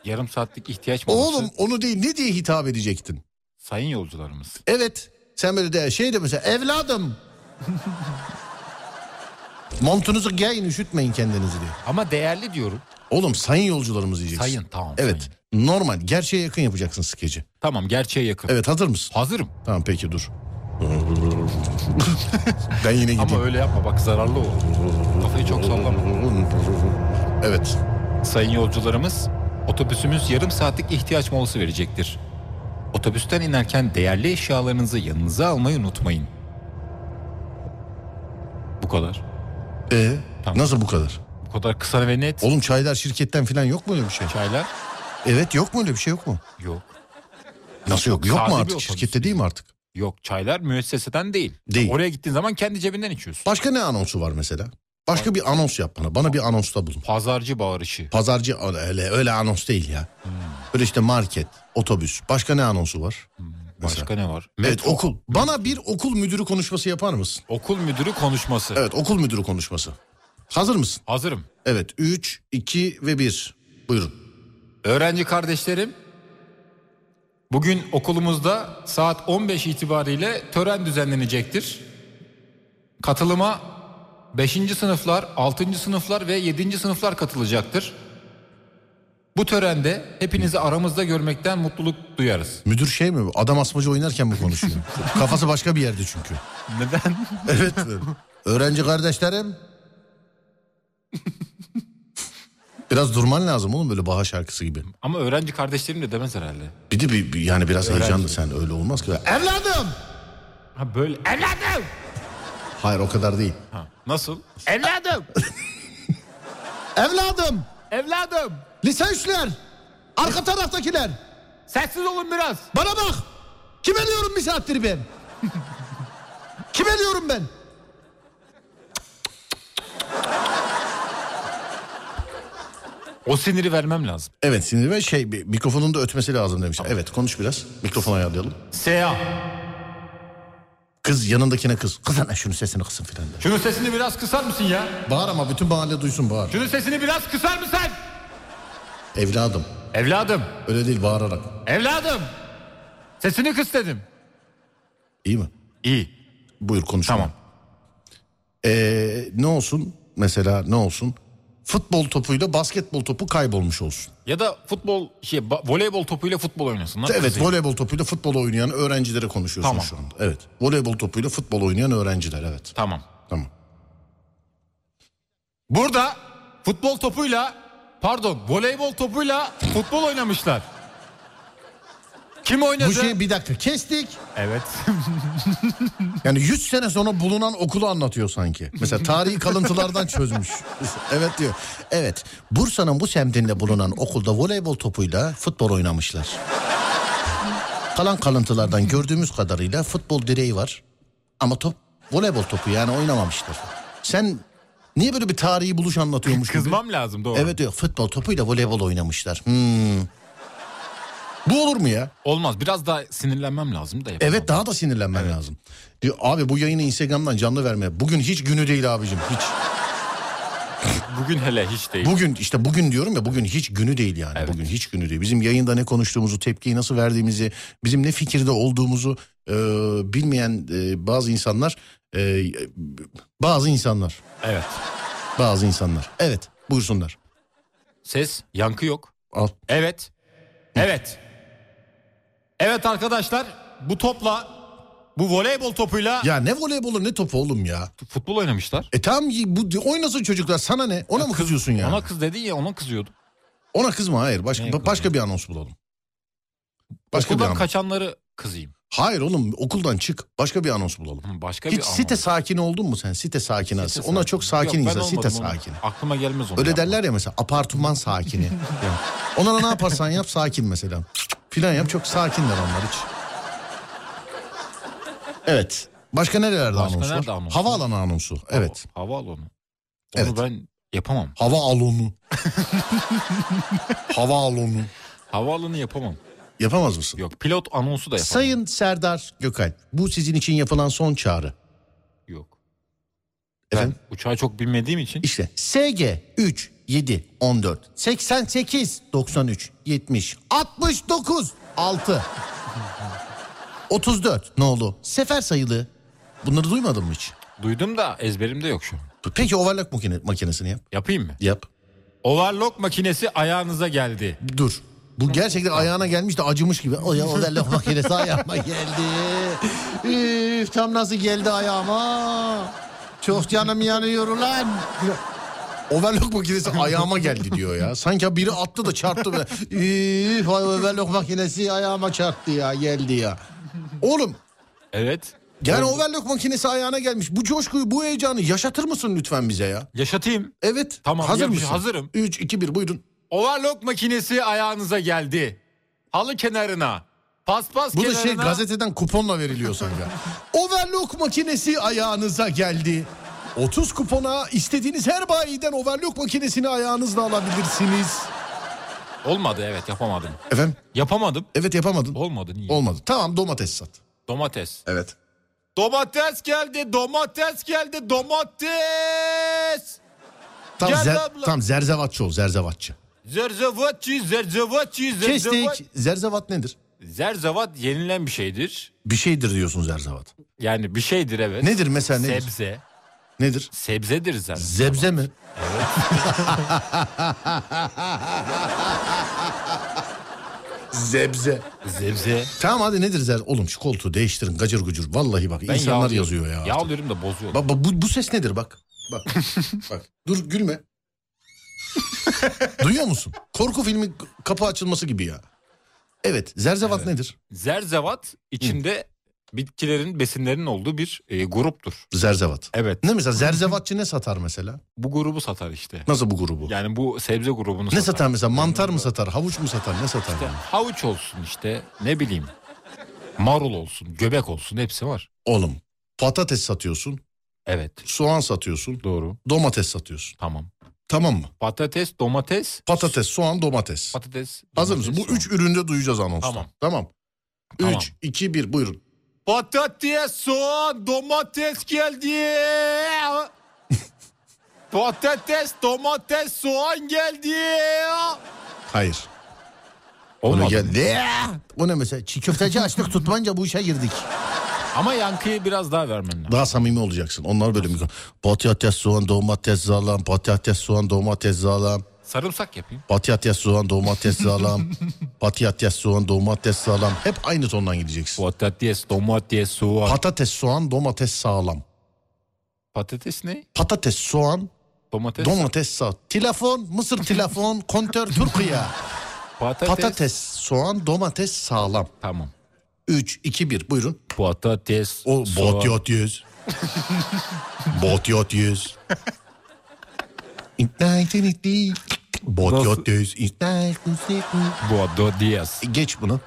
Yarım saatlik ihtiyaç molası. Oğlum onu değil ne diye hitap edecektin? Sayın yolcularımız. Evet. Sen böyle de şey de mesela evladım. Montunuzu giyin üşütmeyin kendinizi diye. Ama değerli diyorum. Oğlum sayın yolcularımız diyeceksin. Sayın tamam. Evet. sayın. Normal. Gerçeğe yakın yapacaksın skeci. Tamam gerçeğe yakın. Evet hazır mısın? Hazırım. Tamam peki dur. ben yine Ama gideyim. öyle yapma bak zararlı olur. Kafayı çok sallama. Evet. Sayın yolcularımız otobüsümüz yarım saatlik ihtiyaç molası verecektir. Otobüsten inerken değerli eşyalarınızı yanınıza almayı unutmayın. Bu kadar. Ee, Tamam. Nasıl bu kadar? Bu kadar kısa ve net. Oğlum çaydar şirketten falan yok mu öyle bir şey? Çaylar Evet yok mu öyle bir şey yok mu? yok. Nasıl yok? Yok Sade mu bir artık? otobüs. Şirkette değil mi artık? Yok çaylar müesseseden değil. Değil. Oraya gittiğin zaman kendi cebinden içiyorsun. Başka ne anonsu var mesela? Başka bir anons yap bana. Bana bir anonsta bulun. Pazarcı bağırışı. Pazarcı öyle öyle anons değil ya. Hmm. Böyle işte market, otobüs. Başka ne anonsu var? Hmm. Başka ne var? Evet okul. Bana bir okul müdürü konuşması yapar mısın? Okul müdürü konuşması. Evet okul müdürü konuşması. Hazır mısın? Hazırım. Evet 3, 2 ve 1. Buyurun. Öğrenci kardeşlerim, bugün okulumuzda saat 15 itibariyle tören düzenlenecektir. Katılıma 5. sınıflar, 6. sınıflar ve 7. sınıflar katılacaktır. Bu törende hepinizi aramızda görmekten mutluluk duyarız. Müdür şey mi? bu? Adam asmacı oynarken mi konuşuyor? Kafası başka bir yerde çünkü. Neden? Evet. Öğrenci kardeşlerim. Biraz durman lazım oğlum böyle Baha şarkısı gibi. Ama öğrenci kardeşlerim de demez herhalde. Bir de bir, bir- yani biraz heyecanlı sen öyle olmaz ki. Evladım! Ha böyle. Evladım! Hayır o kadar değil. Ha, nasıl? Evladım! Evladım! Evladım! Lise üçler! Arka taraftakiler! Sessiz olun biraz. Bana bak! Kim eliyorum bir saattir ben? Kim eliyorum ben? O siniri vermem lazım. Evet sinir ve şey bir- mikrofonun da ötmesi lazım demiş. Evet konuş biraz. Mikrofonu ayarlayalım. Seha. Kız yanındakine kız. Kız anne şunun sesini kısın filan der. Şunun sesini biraz kısar mısın ya? Bağır ama bütün mahalle duysun bağır. Şunun sesini biraz kısar mısın? Evladım. Evladım, Öyle değil bağırarak. evladım. Sesini kıs dedim. İyi mi? İyi, Buyur konuş. tamam. Ee, ne olsun mesela ne olsun? Futbol topuyla basketbol topu kaybolmuş olsun. Ya da futbol, şey, ba- voleybol topuyla futbol oynasınlar. Evet Kızayım. voleybol topuyla futbol oynayan öğrencilere konuşuyorsun Tamam. şu anda. Evet. Voleybol topuyla futbol oynayan öğrenciler evet. Tamam. Tamam. Burada futbol topuyla, pardon voleybol topuyla futbol oynamışlar. Kim oynadı? Bu şey bir dakika kestik. Evet. Yani 100 sene sonra bulunan okulu anlatıyor sanki. Mesela tarihi kalıntılardan çözmüş. Evet diyor. Evet. Bursa'nın bu semtinde bulunan okulda voleybol topuyla futbol oynamışlar. Kalan kalıntılardan gördüğümüz kadarıyla futbol direği var. Ama top voleybol topu yani oynamamıştır. Sen niye böyle bir tarihi buluş anlatıyormuş gibi? Kızmam lazım doğru. Evet diyor futbol topuyla voleybol oynamışlar. Hmm. Bu olur mu ya? Olmaz biraz daha sinirlenmem lazım da yapamam. Evet daha da sinirlenmen lazım. Diyor abi bu yayını Instagram'dan canlı verme. Bugün hiç günü değil abicim hiç. Bugün hele hiç değil. Bugün işte bugün diyorum ya bugün hiç günü değil yani. Evet. Bugün hiç günü değil. Bizim yayında ne konuştuğumuzu, tepkiyi nasıl verdiğimizi, bizim ne fikirde olduğumuzu e, bilmeyen e, bazı insanlar e, bazı insanlar, Evet. bazı insanlar. Evet, buyursunlar. Ses, yankı yok. Al. Evet. Evet. Evet arkadaşlar bu topla Bu voleybol topuyla Ya ne voleybolu ne topu oğlum ya. futbol oynamışlar. E tamam y- bu oynasın çocuklar sana ne? Ona mı kızıyorsun ya? Ona kız dedin ya ona kızıyordu. Ona kızma hayır. Başka Neye başka bir anons bulalım. Başka bir Okuldan anons. kaçanları kızayım. Hayır oğlum okuldan çık. Başka bir anons bulalım. Hı, Başka Hiç bir site sakin oldun mu sen? Site sakini. Site Ona sakin. çok sakin Yok, ben insan. Site olmadım ona. sakini. Aklıma gelmez onu. Öyle yapmak. derler ya mesela apartman sakini. Ya. Onlara ne yaparsan yap sakin mesela. Filan yap çok sakinler onlar hiç. Evet. Başka nerelerde Başka anons nerede var? anons var? Havaalanı anonsu. Evet. Hava, havaalanı. Onu Evet. ben yapamam. Hava alonu. Hava alonu. Havaalanı yapamam. Yapamaz mısın? Yok pilot anonsu da yapamam. Sayın Serdar Gökalp bu sizin için yapılan son çağrı. Yok. Efendim? Ben uçağa çok binmediğim için İşte SG 3 7 14 88 93 70 69 6 34 ne oldu? Sefer sayılı. Bunları duymadın mı hiç? duydum da ezberimde yok şu an. Peki overlock makine, makinesini yap. Yapayım mı? Yap. Overlock makinesi ayağınıza geldi. Dur. Bu gerçekten ayağına gelmiş de acımış gibi. O ya overlock makinesi ayağıma geldi. Üf, tam nasıl geldi ayağıma. Çok canım yanıyor lan. Overlock makinesi ayağıma geldi diyor ya. Sanki biri attı da çarptı. Böyle. Üf, ay overlock makinesi ayağıma çarptı ya geldi ya. Oğlum Evet. yani overlock makinesi ayağına gelmiş. Bu coşkuyu bu heyecanı yaşatır mısın lütfen bize ya? Yaşatayım. Evet. Tamam, Hazır yapmış- mısın? hazırım. 3, 2, 1 buyurun. Overlock makinesi ayağınıza geldi. Halı kenarına. Paspas Bu da kenarına. şey gazeteden kuponla veriliyor sanki. overlock makinesi ayağınıza geldi. 30 kupona istediğiniz her bayiden overlock makinesini ayağınızla alabilirsiniz. Olmadı evet yapamadım. Efendim? Yapamadım. Evet yapamadın. Olmadı niye? Olmadı. Tamam domates sat. domates. Evet. Domates geldi, domates geldi, domates. Tam, Gel zer, abla. tam zerzevatçı ol zerzevatçı. Zerzevatçı, zerzevatçı, zerzevat. Kestik. Zerzevat nedir? Zerzevat yenilen bir şeydir. Bir şeydir diyorsun zerzevat. Yani bir şeydir evet. Nedir mesela nedir? Sebze. Nedir? Sebzedir zerzevat. Zebze mi? Zebze. Sebze. Tamam hadi nedir zer? Oğlum şu koltuğu değiştirin gacır gucur. Vallahi bak Ben insanlar yağlıyorum. yazıyor ya. Bak Yağlıyorum da bozuyorum. bak, bu, bu ses nedir bak. Bak. bak. Dur gülme. Duyuyor musun? Korku filmi kapı açılması gibi ya. Evet, zerzevat Evet. nedir? Zerzevat içinde bitkilerin, besinlerin olduğu bir e, gruptur. Zerzevat. Evet. Ne mesela zerzevatçı ne satar mesela? Bu grubu satar işte. Nasıl bu grubu? Yani bu sebze grubunu ne satar mesela? Mantar mı satar? Havuç mu satar? Ne satar? İşte yani? havuç olsun işte ne bileyim. Marul olsun, göbek olsun hepsi var. Oğlum, patates satıyorsun, Evet. soğan satıyorsun, Doğru. domates satıyorsun. Tamam. Tamam mı? Patates, domates. Patates, soğan, domates. Patates. Hazır domates, mısın? Bu soğan. üç üründe duyacağız anonsta. Tamam. Tamam. Tamam. Tamam. 3, 2, 1 buyurun. Patates, soğan, domates geldi. Patates, domates, soğan geldi. Hayır. Olmadı. Onu gel. Ne? O ne mesela? Çiğ köfteci açlık tutmanca bu işe girdik. Ama yankıyı biraz daha vermen lazım. Daha samimi olacaksın. Onlar böyle mi? Patates, soğan, domates, zalam. Patates, soğan, domates, zalam. Sarımsak yapayım. Patates, soğan, domates, zalam. Patates, soğan, domates, zalam. Hep aynı tondan gideceksin. Patates, domates, soğan. Patates, soğan, domates, sağlam. patates ne? Patates, soğan, Domates. domates, sağ. Telefon, Mısır telefon, kontör Türkiye. patates. Patates, soğan, domates, sağlam. Tamam. 3, 2, 1 buyurun. Patates, O soğan. botyot yüz. botyot yüz. İnternetli. Botyot yüz. İnternetli. Patates. Geç bunu.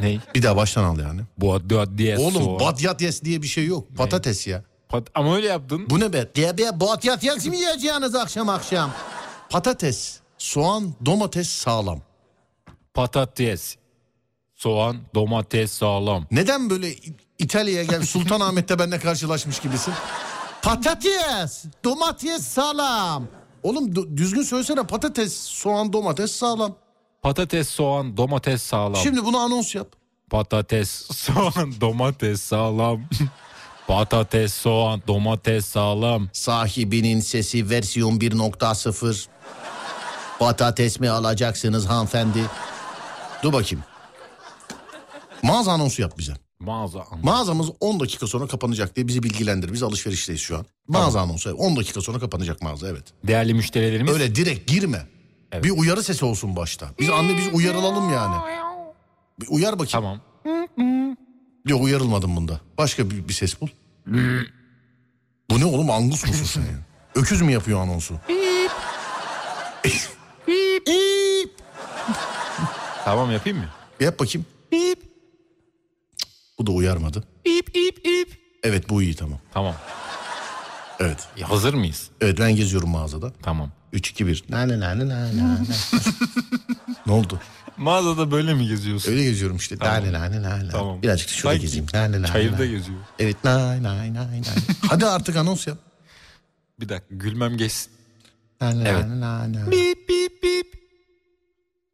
Ne? Bir daha baştan al yani. Patates, soğan. Oğlum batyat yes diye bir şey yok. Patates ya. Pat- Ama öyle yaptın. Bu ne be? Diye be batyat yes mi yiyeceğiniz akşam akşam? Patates, soğan, domates sağlam. Patates, soğan, domates sağlam. Neden böyle İ- İtalya'ya gel Sultanahmet'te benimle karşılaşmış gibisin? Patates, domates sağlam. Oğlum du- düzgün söylesene patates, soğan, domates sağlam. Patates, soğan, domates sağlam. Şimdi bunu anons yap. Patates, soğan, domates sağlam. Patates, soğan, domates sağlam. Sahibinin sesi versiyon 1.0. Patates mi alacaksınız hanımefendi? Dur bakayım. Mağaza anonsu yap bize. Mağaza anons. Mağazamız 10 dakika sonra kapanacak diye bizi bilgilendir. Biz alışverişteyiz şu an. Mağaza anonsu evet. 10 dakika sonra kapanacak mağaza evet. Değerli müşterilerimiz. Öyle direkt girme. Evet. Bir uyarı sesi olsun başta. Biz anne biz uyarılalım yani. Bir uyar bakayım. Tamam. Yok uyarılmadım bunda. Başka bir, bir ses bul. Bu ne oğlum angus musun sen ya? Öküz mü yapıyor anonsu? Tamam yapayım mı? Yap bakayım. Cık, Bu da uyarmadı. Evet bu iyi tamam. Tamam. Evet. E, hazır mıyız? Evet ben geziyorum mağazada. Tamam. 3 2 1. Na na na na na na. ne oldu? Mağazada böyle mi geziyorsun? Öyle geziyorum işte. Tamam. Na na na na na. Tamam. Birazcık da şurada Sanki gezeyim. Na na na. na. Çayırda geziyor. Evet na na na na. Hadi artık anons yap. Bir dakika gülmem geçsin. Na na Evet. na na na. Bip bip bip.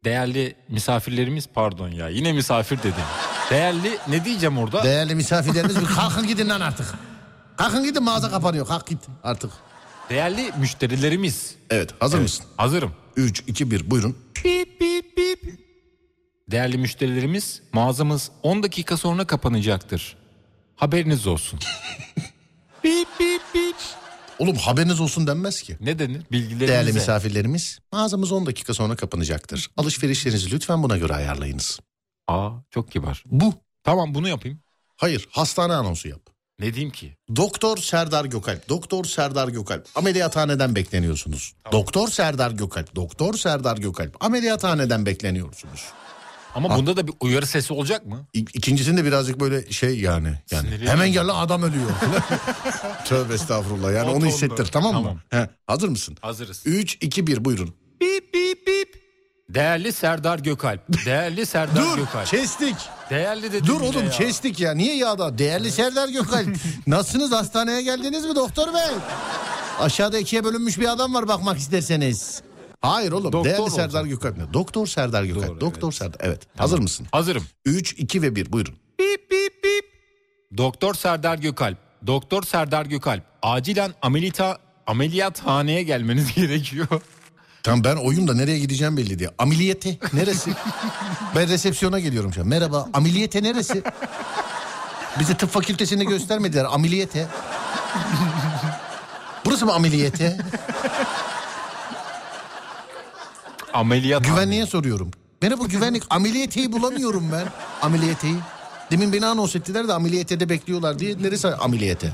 Değerli misafirlerimiz pardon ya yine misafir dedim. Değerli ne diyeceğim orada? Değerli misafirlerimiz bir kalkın gidin lan artık. Kalkın gidin mağaza kapanıyor. Kalk git artık. Değerli müşterilerimiz. Evet hazır mısın? Hazırım. 3 2 1 buyurun. Bip bip bip. Değerli müşterilerimiz mağazamız 10 dakika sonra kapanacaktır. Haberiniz olsun. bip bip bip. Oğlum haberiniz olsun denmez ki. Ne denir? Bilgilerinize. Değerli misafirlerimiz, mağazamız 10 dakika sonra kapanacaktır. Alışverişlerinizi lütfen buna göre ayarlayınız. Aa çok kibar. Bu. Tamam bunu yapayım. Hayır, hastane anonsu yap. Ne diyeyim ki? Doktor Serdar Gökalp, Doktor Serdar Gökalp. Ameliyathaneden bekleniyorsunuz. Doktor Serdar Gökalp, Doktor Serdar Gökalp. Ameliyathaneden bekleniyorsunuz. Ama bunda da bir uyarı sesi olacak mı? İ- İkincisinde birazcık böyle şey yani. yani Sinirli hemen gel lan adam ölüyor. Tövbe estağfurullah yani O onu tonda. hissettir tamam mı? Tamam. He, hazır mısın? Hazırız. 3, 2, 1 buyurun. Bip bip bip. Değerli Serdar Gökalp. Değerli Serdar Dur Gökalp. kestik. Değerli dedim Dur yine oğlum ya. kestik ya. Niye ya da? Değerli Serdar Gökalp. Nasılsınız? Hastaneye geldiniz mi doktor bey? Aşağıda ikiye bölünmüş bir adam var bakmak isterseniz. Hayır oğlum. Doktor Değerli oldu. Serdar Gökalp ne? Doktor Serdar Gökalp. Doğru, Doktor Serdar. Evet. Hazır mısın? Hazırım. 3, 2 ve 1 buyurun. Bip bip bip. Doktor Serdar Gökalp. Doktor Serdar Gökalp. Acilen ameliyata ameliyathaneye gelmeniz gerekiyor. Tam ben oyum da nereye gideceğim belli diye. Ameliyete neresi? ben resepsiyona geliyorum şu an. Merhaba ameliyete neresi? Bizi tıp fakültesinde göstermediler ameliyete. Burası mı ameliyete? Ameliyat. Güvenliğe soruyorum. Merhaba güvenlik ameliyeteyi bulamıyorum ben. Ameliyeteyi. Demin beni anons ettiler de ameliyetede bekliyorlar diye. Neresi ameliyete?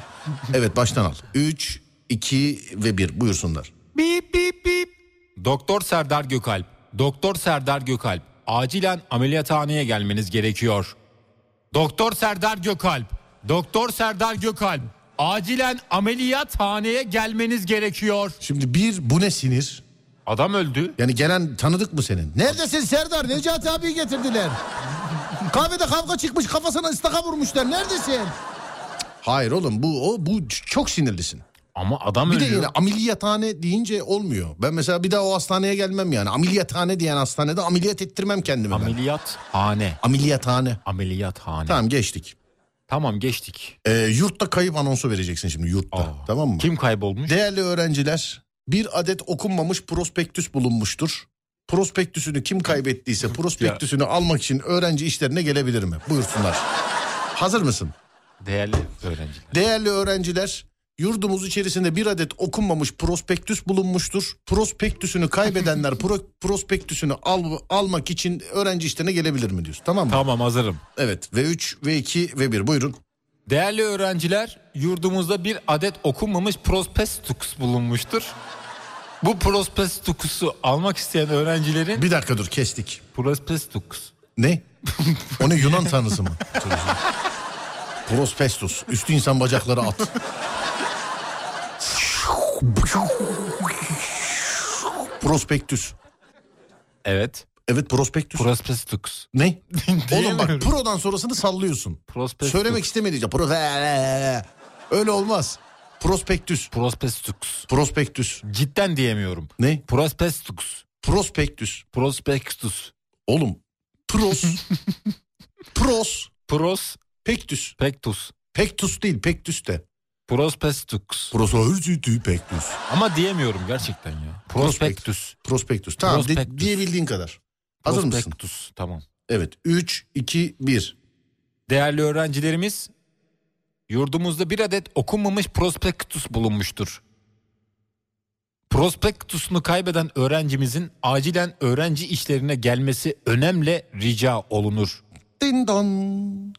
Evet baştan al. 3, 2 ve 1 buyursunlar. Bip bip bip. Doktor Serdar Gökalp. Doktor Serdar Gökalp. Acilen ameliyathaneye gelmeniz gerekiyor. Doktor Serdar Gökalp. Doktor Serdar Gökalp. Acilen ameliyathaneye gelmeniz gerekiyor. Şimdi bir bu ne sinir? Adam öldü. Yani gelen tanıdık mı senin? Neredesin Serdar? Necati abiyi getirdiler. Kahvede kavga çıkmış kafasına ıstaka vurmuşlar. Neredesin? Cık, Hayır oğlum bu o bu ç- çok sinirlisin. Ama adam Bir de ölüyor. yine ameliyathane deyince olmuyor. Ben mesela bir daha o hastaneye gelmem yani. Ameliyathane diyen hastanede ameliyat ettirmem kendimi ben. Ameliyathane. Ameliyathane. Ameliyathane. Tamam, Tamam geçtik. geçtik. Ee, yurtta kayıp anonsu vereceksin şimdi yurtta. Aa. Tamam mı? Kim kaybolmuş? Değerli öğrenciler bir adet okunmamış prospektüs bulunmuştur. Prospektüsünü kim kaybettiyse prospektüsünü almak için öğrenci işlerine gelebilir mi? Buyursunlar. Hazır mısın? Değerli öğrenciler. Değerli öğrenciler yurdumuz içerisinde bir adet okunmamış prospektüs bulunmuştur. Prospektüsünü kaybedenler pro- prospektüsünü al- almak için öğrenci işlerine gelebilir mi diyorsun? Tamam mı? Tamam hazırım. Evet ve 3 ve 2 ve 1 buyurun. Değerli öğrenciler, yurdumuzda bir adet okunmamış prospektüs bulunmuştur. Bu prospektüsü almak isteyen öğrencilerin Bir dakika dur kestik. prospektüs. Ne? O ne Yunan tanrısı mı? Prospestus. Üstü insan bacakları at. Prospektüs. Evet. Evet prospektüs. Prospektüs. ne? Oğlum bak Diyemiyorum. prodan sonrasını sallıyorsun. Prospektüs. Söylemek istemediğince. Pro... Öyle olmaz. Prospektüs. Prospektüs. Prospektüs. Cidden diyemiyorum. Ne? Prospektüs. Prospektüs. Prospektüs. Oğlum. Pros. Pros. Prospektüs. Pektüs. Pektus değil. Pektüs de. Prospektüs. Prospektüs. Pektüs. Ama diyemiyorum gerçekten ya. Prospektüs. Prospektüs. Tamam de- Prospektüs. diyebildiğin kadar. Hazır mısın? Prospektüs. Tamam. Evet. 3, 2, 1. değerli öğrencilerimiz yurdumuzda bir adet okunmamış prospektus bulunmuştur. Prospektusunu kaybeden öğrencimizin acilen öğrenci işlerine gelmesi önemli rica olunur. Din don.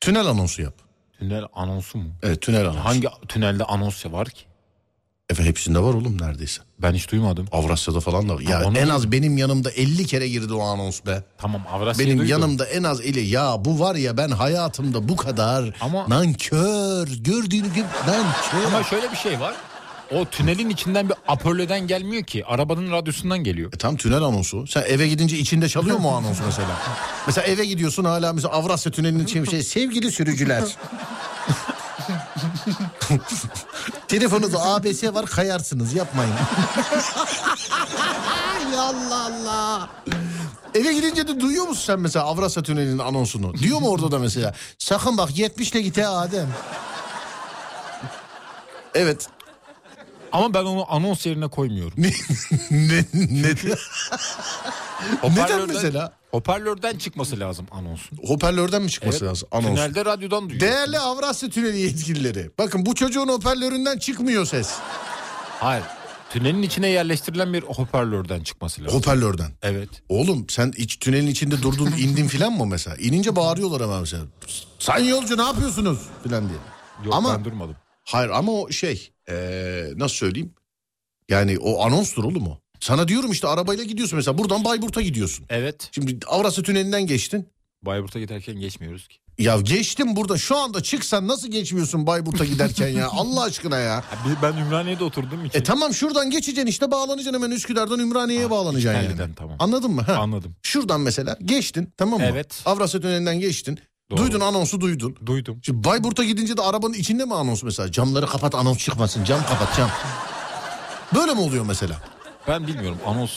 Tünel anonsu yap. Tünel anonsu mu? Evet tünel anonsu. Hangi tünelde anons var ki? Efe hepsinde var oğlum neredeyse. Ben hiç duymadım. Avrasya'da falan da var. Ya Tamam, onu- en az benim yanımda 50 kere girdi o anons be. Tamam Avrasya'yı Benim şey duydum. yanımda en az eli ya bu var ya ben hayatımda bu kadar Ama- nankör gördüğünü gibi nankör. Ama şöyle bir şey var. O tünelin içinden bir apörleden gelmiyor ki. Arabanın radyosundan geliyor. E tam tünel anonsu. Sen eve gidince içinde çalıyor mu o anonsu mesela? mesela eve gidiyorsun hala mesela Avrasya tünelinin içinde bir şey. Sevgili sürücüler. Telefonunuzda ABS var kayarsınız yapmayın. ya Allah Allah. Eve gidince de duyuyor musun sen mesela Avrasya tünelinin anonsunu? Diyor mu orada da mesela? Sakın bak 70'le git he Adem. Evet. Ama ben onu anons yerine koymuyorum. ne, ne, Hoparlörden- mesela? Hoparlörden çıkması lazım anonsun. hoparlörden mi çıkması lazım anonsun? Tünelde radyodan duyuyor. Değerli Avrasya Tüneli yetkilileri. Bakın bu çocuğun hoparlöründen çıkmıyor ses. Hayır. Tünelin içine yerleştirilen bir hoparlörden çıkması lazım. Hoparlörden. evet. Oğlum sen iç tünelin içinde durdun indin filan mı mesela? İnince bağırıyorlar hemen mesela. Sayın yolcu ne yapıyorsunuz filan diye. Yok ama ben durmadım. hayır ama o şey ee, nasıl söyleyeyim? Yani o anonstur oğlum o. Sana diyorum işte arabayla gidiyorsun mesela buradan Bayburt'a gidiyorsun. Evet. Şimdi Avrasya Tüneli'nden geçtin. Bayburt'a giderken geçmiyoruz ki. Ya geçtim burada şu anda çıksan nasıl geçmiyorsun Bayburt'a giderken ya Allah aşkına ya. Ya bir- Ben Ümraniye'de oturduğum için. E tamam şuradan geçeceksin işte bağlanacaksın hemen Üsküdar'dan Ümraniye'ye bağlanacaksın yani. Tünelden tamam. Anladın mı? Ha. Ah, Anladım. Şuradan mesela geçtin tamam mı? Evet. Avrasya Tüneli'nden geçtin. Doğru. Duydun anonsu duydun. Duydum. Şimdi Bayburt'a gidince de arabanın içinde mi anons mesela? Camları kapat anons çıkmasın cam kapat cam. Böyle mi oluyor mesela? Ben bilmiyorum anons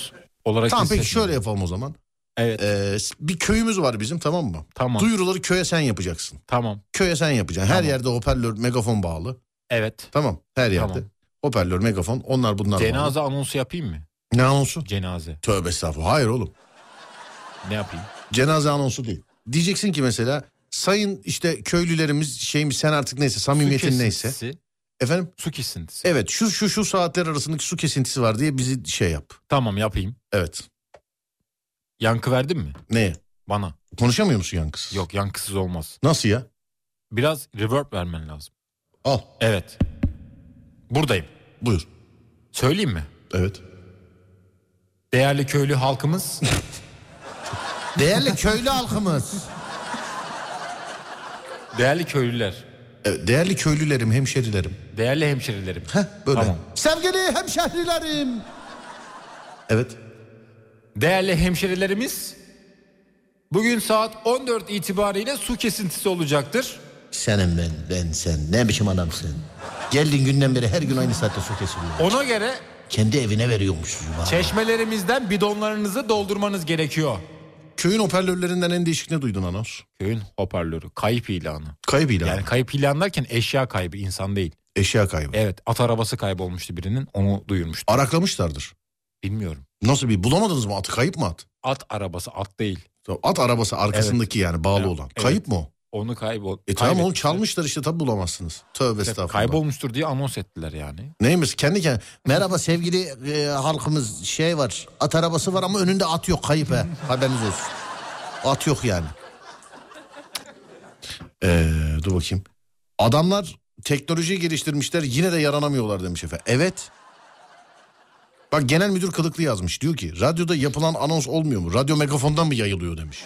olarak. Tamam peki hissetmiyorum. şöyle yapalım o zaman. Evet Ee, bir köyümüz var bizim tamam mı? tamam Duyuruları köye sen yapacaksın. tamam. Köye sen yapacaksın. Her Tamam. yerde hoparlör megafon bağlı. Evet. Tamam her yerde. Tamam. Hoparlör megafon onlar bunlar bağlı. Cenaze anonsu yapayım mı? Ne anonsu? Cenaze. Tövbe estağfurullah. Hayır oğlum. Ne yapayım? Cenaze anonsu değil. Diyeceksin ki mesela sayın işte köylülerimiz şeyimiz sen artık neyse samimiyetin Su neyse. kesintisi, Efendim Su kesintisi. evet şu şu şu saatler arasındaki su kesintisi var diye bizi şey yap. Tamam yapayım. Evet. Yankı verdin mi? Neye? Bana. Konuşamıyor musun yankısız? Yok yankısız olmaz. Nasıl ya? Biraz reverb vermen lazım. Al Evet. Buradayım. buyur. Söyleyeyim mi? Evet. Değerli köylü halkımız Değerli köylü halkımız. Değerli köylüler, Evet, değerli köylülerim, hemşerilerim. değerli hemşerilerim. Heh, böyle. Tamam. Sevgili hemşehrilerim. Evet. Değerli hemşerilerimiz, bugün saat 14 itibariyle su kesintisi olacaktır. Senin ben, ben sen. Ne biçim adamsın? Geldiğin günden beri her gün aynı saatte su kesiliyor. Ona göre Kendi evine veriyormuş. çeşmelerimizden bidonlarınızı doldurmanız gerekiyor. Köyün hoparlörlerinden en değişik ne duydun anons? Köyün hoparlörü, kayıp ilanı. Kayıp ilanı. Yani E- kayıp ilan derken eşya kaybı, insan değil. Eşya kaybı. Evet, at arabası kaybolmuştu birinin, onu duyurmuştu. Araklamışlardır. Bilmiyorum. Nasıl bir bulamadınız mı atı? Kayıp mı at? At arabası, at değil. At arabası arkasındaki yani bağlı Evet, olan. evet. Kayıp mı o? Onu kaybol. E tamam oğlum kaybetmişler. çalmışlar işte tabi bulamazsınız. Tövbe estağfurullah. Kaybolmuştur diye anons ettiler yani. Neymiş kendi kendine. Merhaba sevgili e, halkımız şey var. At arabası var ama önünde at yok kayıp he. Haberiniz olsun. At yok yani. Ee, dur bakayım. Adamlar teknolojiyi geliştirmişler yine de yaranamıyorlar demiş efendim. Evet. Bak genel müdür kılıklı yazmış. Diyor ki radyoda yapılan anons olmuyor mu? Radyo megafondan mı yayılıyor demiş.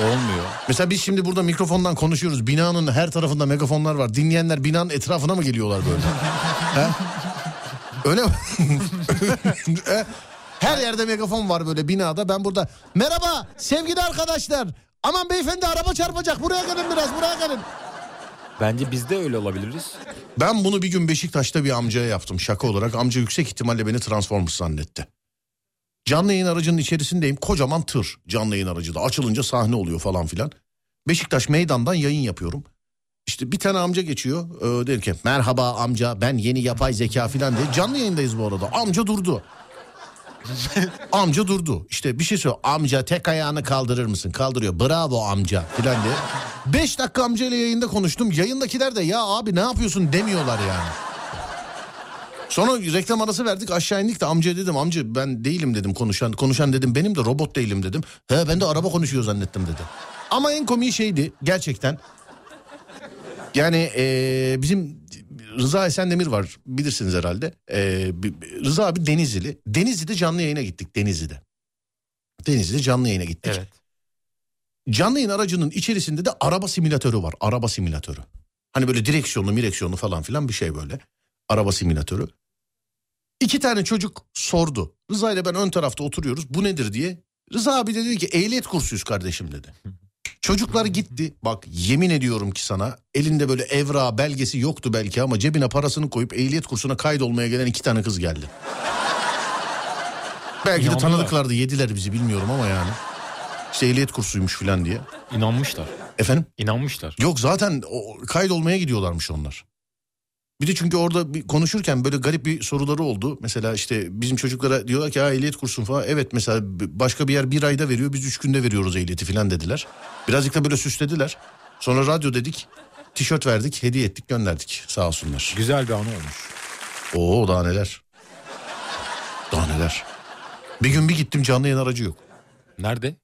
Olmuyor. Mesela biz şimdi burada mikrofondan konuşuyoruz. Binanın her tarafında megafonlar var. Dinleyenler binanın etrafına mı geliyorlar böyle? He? Öyle mi? He? her yerde megafon var böyle binada. Ben burada merhaba sevgili arkadaşlar. Aman beyefendi araba çarpacak. Buraya gelin biraz buraya gelin. Bence biz de öyle olabiliriz. Ben bunu bir gün Beşiktaş'ta bir amcaya yaptım şaka olarak. Amca yüksek ihtimalle beni Transformers zannetti. Canlı yayın aracının içerisindeyim. Kocaman tır canlı yayın aracı da. Açılınca sahne oluyor falan filan. Beşiktaş meydandan yayın yapıyorum. İşte bir tane amca geçiyor. Ee, dedi ki merhaba amca ben yeni yapay zeka filan diye. Canlı yayındayız bu arada. Amca durdu. amca durdu. İşte bir şey söylüyor. Amca tek ayağını kaldırır mısın? Kaldırıyor. Bravo amca filan diye. 5 dakika amcayla yayında konuştum. Yayındakiler de ya abi ne yapıyorsun demiyorlar yani. Sonra reklam arası verdik aşağı indik de amca dedim amca ben değilim dedim konuşan konuşan dedim benim de robot değilim dedim. He ben de araba konuşuyor zannettim dedi. Ama en komiği şeydi gerçekten. Yani eee, bizim Rıza Esendemir var bilirsiniz herhalde. Eee, bi- bi- Rıza abi Denizlili. Denizli'de canlı yayına gittik Denizli'de. Denizli'de canlı yayına gittik. Evet. Canlı yayın aracının içerisinde de araba simülatörü var. Araba simülatörü. Hani böyle direksiyonlu mireksiyonlu falan filan bir şey böyle. Araba simülatörü. İki tane çocuk sordu. Rıza ile ben ön tarafta oturuyoruz. Bu nedir diye. Rıza abi de dedi ki ehliyet kursuyuz kardeşim dedi. Çocuklar gitti. Bak yemin ediyorum ki sana elinde böyle evra belgesi yoktu belki ama cebine parasını koyup ehliyet kursuna kaydolmaya gelen iki tane kız geldi. belki de İnandılar. tanıdıklardı yediler bizi bilmiyorum ama yani. İşte ehliyet kursuymuş falan diye. İnanmışlar. Efendim? İnanmışlar. Yok zaten o, kaydolmaya gidiyorlarmış onlar. Bir de çünkü orada bir konuşurken böyle garip bir soruları oldu. Mesela işte bizim çocuklara diyorlar ki ha ehliyet kursun falan. Evet mesela b- başka bir yer bir ayda veriyor biz üç günde veriyoruz ehliyeti falan dediler. Birazcık da böyle süslediler. Sonra radyo dedik, tişört verdik, hediye ettik gönderdik sağ olsunlar. Güzel bir anı olmuş. Oo daha neler. Daha neler. Bir gün bir gittim canlı yayın aracı yok. Nerede?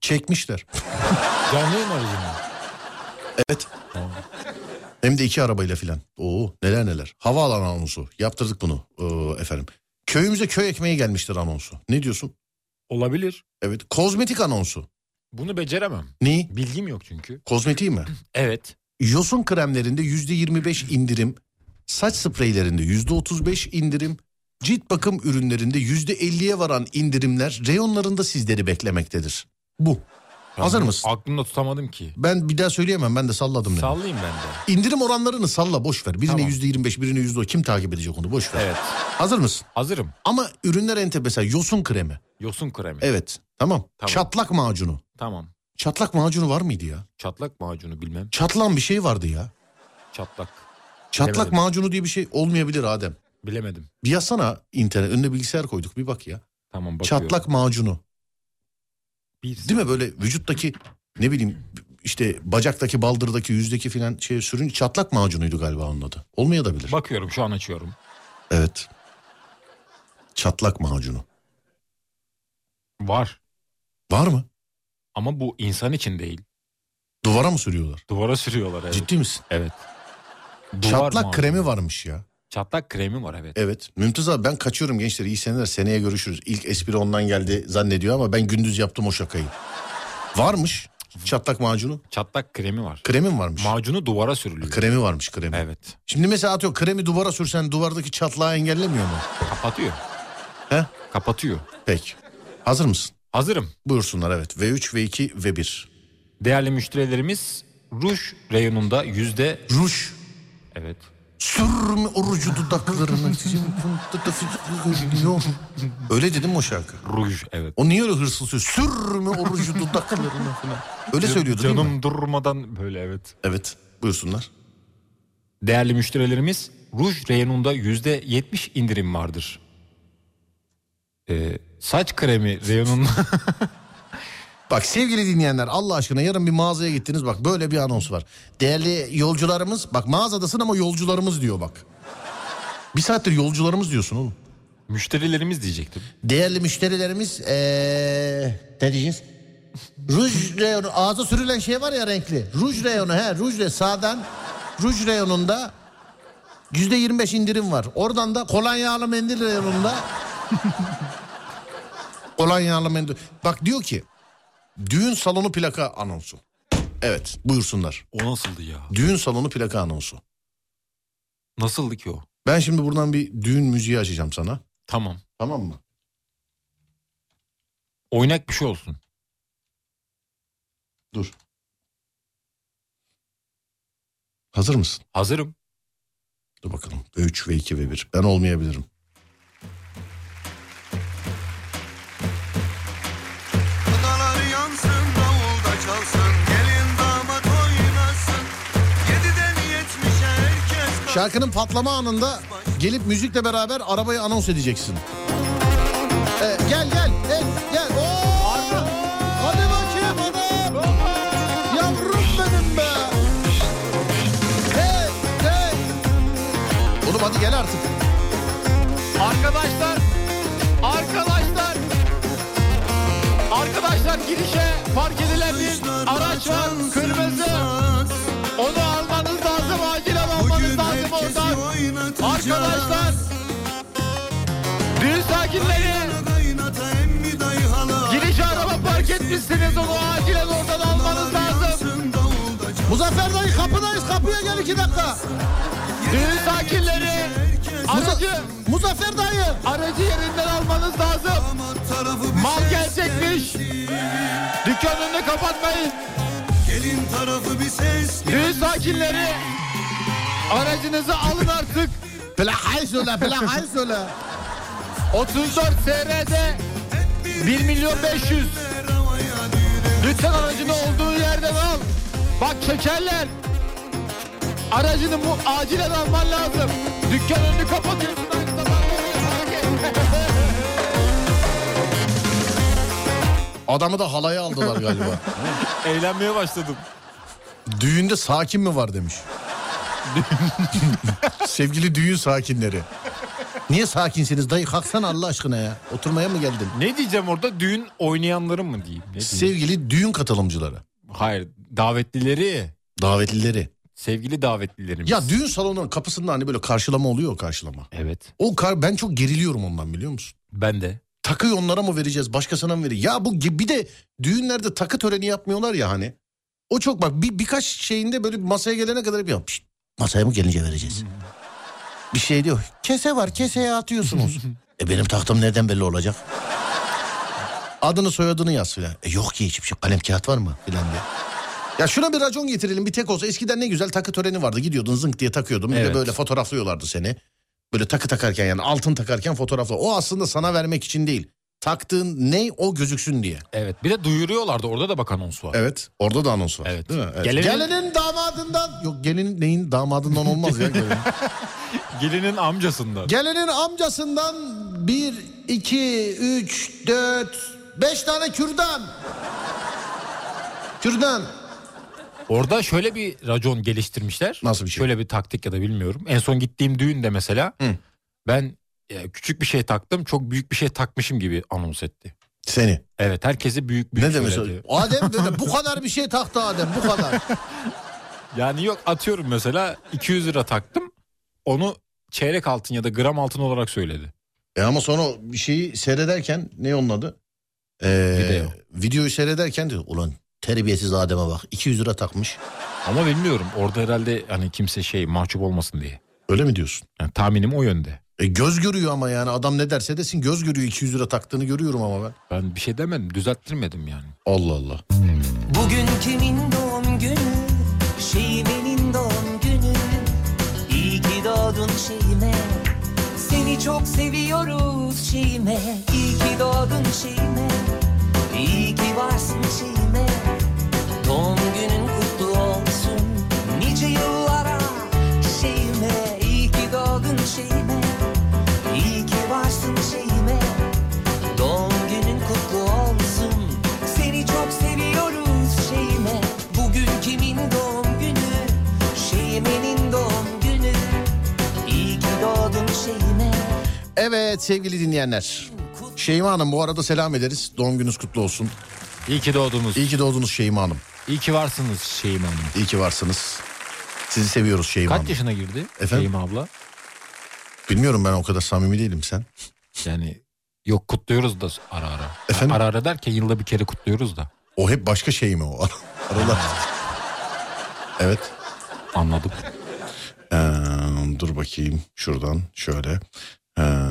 Çekmişler. Canlı yayın aracı mı? Evet. Hem de iki arabayla filan. Oo neler neler. Havaalanı anonsu. Yaptırdık bunu ee, efendim. Köyümüze köy ekmeği gelmiştir anonsu. Ne diyorsun? Olabilir. Evet. Kozmetik anonsu. Bunu beceremem. Neyi? Bilgim yok çünkü. Kozmetiği mi? Evet. Yosun kremlerinde yüzde yirmi beş indirim. Saç spreylerinde yüzde otuz beş indirim. Cilt bakım ürünlerinde yüzde elliye varan indirimler reyonlarında sizleri beklemektedir. Bu. Hazır Ben mısın? Aklımda tutamadım ki. Ben bir daha söyleyemem ben de salladım. yani. Sallayayım ben de. İndirim oranlarını salla boş ver. Birine Tamam. yüzde yirmi beş birine yüzde Kim takip edecek onu boş ver. Evet. Hazır mısın? Hazırım. Ama ürünler enteresan. Mesela yosun kremi. Yosun kremi. Evet. Tamam. Tamam. Çatlak macunu. Tamam. Çatlak macunu var mıydı ya? Çatlak macunu bilmem. Çatlan bir şey vardı ya. Çatlak. Çatlak Bilemedim. macunu diye bir şey olmayabilir Adem. Bilemedim. Bir yazsana internet. Önüne bilgisayar koyduk bir bak ya. Tamam bakıyorum. Çatlak macunu. Bir. Değil mi böyle vücuttaki ne bileyim işte bacaktaki baldırdaki yüzdeki filan şey sürün çatlak macunuydu galiba onun adı. Olmaya da bilir. Bakıyorum şu an açıyorum. Evet. Çatlak macunu. Var. Var mı? Ama bu insan için değil. Duvara mı sürüyorlar? Duvara sürüyorlar evet. Ciddi misin? Evet. Duvar Çatlak macunu. kremi varmış ya. Çatlak kremi var evet. Evet. Mümtaz abi ben kaçıyorum gençler. İyi seneler. Seneye görüşürüz. İlk espri ondan geldi zannediyor ama ben gündüz yaptım o şakayı. Varmış. Çatlak macunu. Çatlak kremi var. Kremi mi varmış? Macunu duvara sürülüyor. kremi varmış kremi. Evet. Şimdi mesela atıyor kremi duvara sürsen duvardaki çatlağı engellemiyor mu? Kapatıyor. He? Kapatıyor. Peki. Hazır mısın? Hazırım. Buyursunlar evet. V3, V2, V1. Değerli müşterilerimiz ruj reyonunda yüzde... Ruj. Evet. Sürme orucu dudaklarını. Öyle dedim mi o şarkı? Ruj evet. O niye öyle hırsız söylüyor? Sürme orucu dudaklarına falan. Öyle söylüyordu değil mi? Canım durmadan böyle evet. Evet buyursunlar. Değerli müşterilerimiz ruj reyonunda yüzde yetmiş indirim vardır. Ee, saç kremi reyonunda... Bak sevgili dinleyenler Allah aşkına yarın bir mağazaya gittiniz bak böyle bir anons var. Değerli yolcularımız bak mağazadasın ama yolcularımız diyor bak. Bir saattir yolcularımız diyorsun oğlum. Müşterilerimiz diyecektim. Değerli müşterilerimiz ee, ne diyeceğiz? Ruj reyonu ağza sürülen şey var ya renkli. Ruj reyonu he ruj reyonu sağdan ruj reyonunda yüzde yirmi beş indirim var. Oradan da kolonyalı mendil reyonunda kolonyalı mendil. Bak diyor ki düğün salonu plaka anonsu. Evet buyursunlar. O nasıldı ya? Düğün salonu plaka anonsu. Nasıldı ki o? Ben şimdi buradan bir düğün müziği açacağım sana. Tamam. Tamam mı? Oynak bir şey olsun. Dur. Hazır mısın? Hazırım. Dur bakalım. 3 ve 2 ve 1. Ben olmayabilirim. Kınalar yansın davulda çalsın Gelin damat oynasın Yediden yetmişe herkes kalksın Şarkının patlama anında gelip müzikle beraber arabayı anons edeceksin. Ee, gel gel gel gel. Oo! Hadi bakayım adam. Yavrum benim be. Hey hey. Oğlum hadi gel artık. Arkadaşlar, arkadaşlar, arkadaşlar girişe park edilen bir araç var kırmızı. Onu almanız lazım, acilen almanız Bugün lazım herkesi oradan. oynatacağız Arkadaşlar, düğün sakinleri Kaynata emmi dayı hala girişe araba park etmişsiniz onu acilen oradan almanız lazım. Yansın davulda çal Muzaffer dayı kapıdayız kapıya gel iki dakika. Düğün sakinleri aracı, Muzaffer dayı. aracı yerinden almanız lazım. Damat tarafı Mal bir gelecekmiş. Dükkanını kapatmayın. Gelin tarafı bir ses Düğün sakinleri aracınızı alın artık. Plakayı söyle plakayı söyle. 34 SR'de 1 milyon 500. Lütfen aracını olduğu yerden al. Bak çekerler. Aracını mu acilen alman lazım. Dükkan önünü kapatıyorsun. aynı zamanda. Adamı da halaya aldılar galiba. Eğlenmeye başladım. Düğünde sakin mi var demiş. Sevgili düğün sakinleri. Niye sakinsiniz dayı kalksana Allah aşkına ya. Oturmaya mı geldin? Ne diyeceğim orada? Düğün oynayanların mı diyeyim? Ne diyeyim? Sevgili düğün katılımcıları. Hayır, davetlileri. Davetlileri. Sevgili davetlilerimiz. Ya düğün salonunun kapısında hani böyle karşılama oluyor o karşılama. Evet. O kar ben çok geriliyorum ondan biliyor musun? Ben de. Takıyı onlara mı vereceğiz başkasına mı vereceğiz? Ya bu ge- bir de düğünlerde takı töreni yapmıyorlar ya hani. O çok bak bir, birkaç şeyinde böyle masaya gelene kadar bir yapmış. Masaya mı gelince vereceğiz? bir şey diyor. Kese var keseye atıyorsunuz. e benim taktım nereden belli olacak? Adını soyadını yaz filan. E yok ki hiçbir şey. Kalem kağıt var mı filan diye. Ya şuna bir racon getirelim bir tek olsa. Eskiden ne güzel takı töreni vardı. Gidiyordun zınk diye takıyordun. Bir de Evet. böyle fotoğraflıyorlardı seni. Böyle takı takarken yani altın takarken fotoğrafla. O aslında sana vermek için değil. Taktığın ne o gözüksün diye. Evet. Bir de duyuruyorlardı. Orada da bak anons var. Evet. Orada da anons var. Evet. Değil mi? Evet. Gelenin- Gelinin... damadından. Yok gelinin neyin damadından olmaz ya. gelin. Gelinin amcasından. gelinin amcasından bir, iki, üç, dört, beş tane kürdan. kürdan. Orada şöyle bir racon geliştirmişler. Nasıl bir şey? Şöyle bir taktik ya da bilmiyorum. En son gittiğim düğünde mesela Hı. ben e, küçük bir şey taktım çok büyük bir şey takmışım gibi anons etti. Seni. Evet herkese büyük büyük ne demek o? söyledi. Adem böyle bu kadar bir şey taktı Adem bu kadar. Yani yok atıyorum mesela 200 lira taktım onu çeyrek altın ya da gram altın olarak söyledi. e ama sonra bir şeyi seyrederken ne onun adı? Ee, Video. Videoyu seyrederken diyor ulan terbiyesiz Adem'e bak 200 lira takmış. Ama bilmiyorum orada herhalde hani kimse şey mahcup olmasın diye. Öyle mi diyorsun? Yani tahminim o yönde. E göz görüyor ama yani adam ne derse desin göz görüyor 200 lira taktığını görüyorum ama ben. Ben bir şey demedim düzelttirmedim yani. Allah Allah. Bugün kimin doğum günü? Şeyimin doğum günü. İyi ki doğdun şeyime. Seni çok seviyoruz şeyime. İyi ki doğdun şeyime. İyi ki varsın şeyime. Doğum günün kutlu olsun. Nice yıllara şeyime. İyi ki doğdun şeyime. İyi ki varsın şeyime. Doğum günün kutlu olsun. Seni çok seviyoruz şeyime. Bugün kimin doğum günü? Şeyimenin doğum günü. İyi ki doğdun şeyime. Evet sevgili dinleyenler. Şeyma Hanım bu arada selam ederiz. Doğum gününüz kutlu olsun. İyi ki doğdunuz. İyi ki doğdunuz Şeyma Hanım. İyi ki varsınız Şeyma Hanım. İyi ki varsınız. Sizi seviyoruz Şeyma Kaç Hanım. yaşına girdi Efendim? Şeyma abla? Bilmiyorum ben o kadar samimi değilim sen. Yani yok kutluyoruz da ara ara. Efendim? Ara ara derken yılda bir kere kutluyoruz da. O hep başka şey mi o? Aralar. evet. Anladım. Ee, dur bakayım şuradan şöyle. Ee,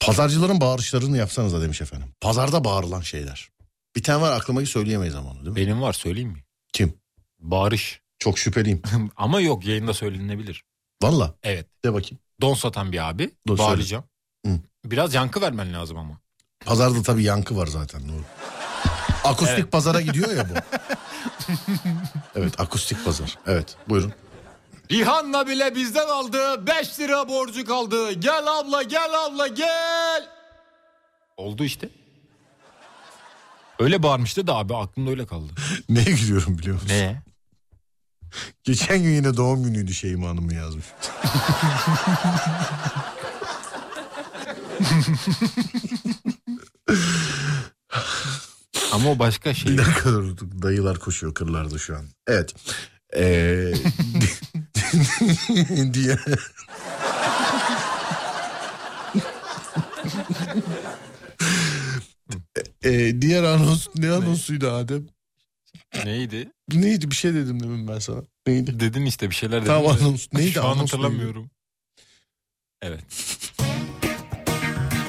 pazarcıların bağırışlarını yapsanız da demiş efendim. Pazarda bağırılan şeyler. Bir tane var aklıma söyleyemeyiz ama onu değil mi? Benim var söyleyeyim mi? Kim? Bağırış. Çok şüpheliyim. Ama yok yayında söylenebilir. Valla Evet. de bakayım. Don satan bir abi. Dur, söyle. Bağıracağım. Hı. Biraz yankı vermen lazım ama. Pazarda tabii yankı var zaten. Doğru. Akustik Evet. pazara gidiyor ya bu. evet akustik pazar. Evet buyurun. Rihanna bile bizden aldı. 5 lira borcu kaldı. Gel abla gel abla gel. Oldu işte. Öyle bağırmıştı da abi aklımda öyle kaldı. Neye gülüyorum biliyor musun? Ne? Geçen gün yine doğum günüydü Şeyma Hanım'ı yazmış. Ama o başka şey. Bir dakika durduk. Dayılar koşuyor kırlarda şu an. Evet. Ee, diye. Ee, diğer anons ne anonsuydu Adem? Neydi? Neydi bir şey dedim demin ben sana. Neydi? Dedin işte bir şeyler dedin. Tam de. anons. Neydi Şu an anons neydi? hatırlamıyorum. Evet. Oh,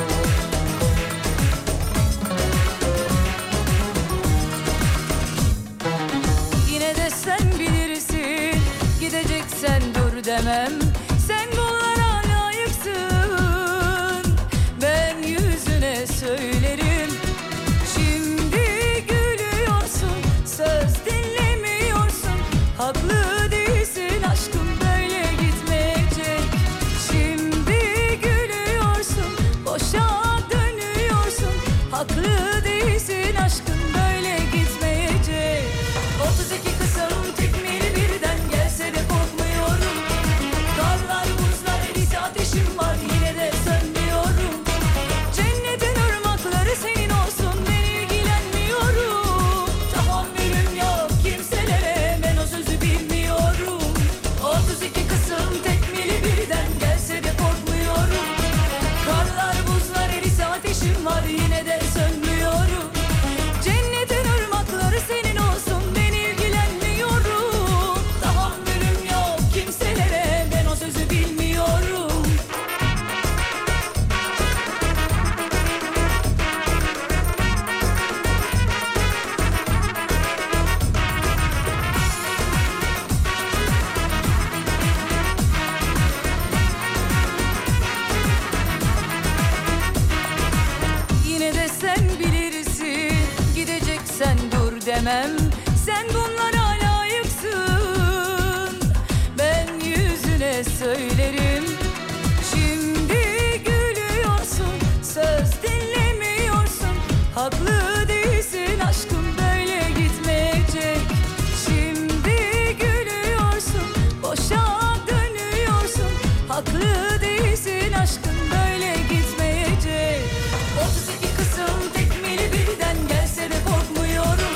Oh, ateşim var yine de sönmüyorum Cennetin ırmakları senin olsun ben ilgilenmiyorum Tahammülüm yok kimselere ben o sözü bilmiyorum Yine de sen bilirsin Gideceksen dur demem Sen bunlara layıksın Ben yüzüne söylerim Şimdi gülüyorsun Söz dinlemiyorsun Haklı değilsin aşkım Böyle gitmeyecek Şimdi gülüyorsun Boşa dönüyorsun Haklı değilsin aşkım Böyle gitmeyecek 32 kısım tekmili birden gelse de korkmuyorum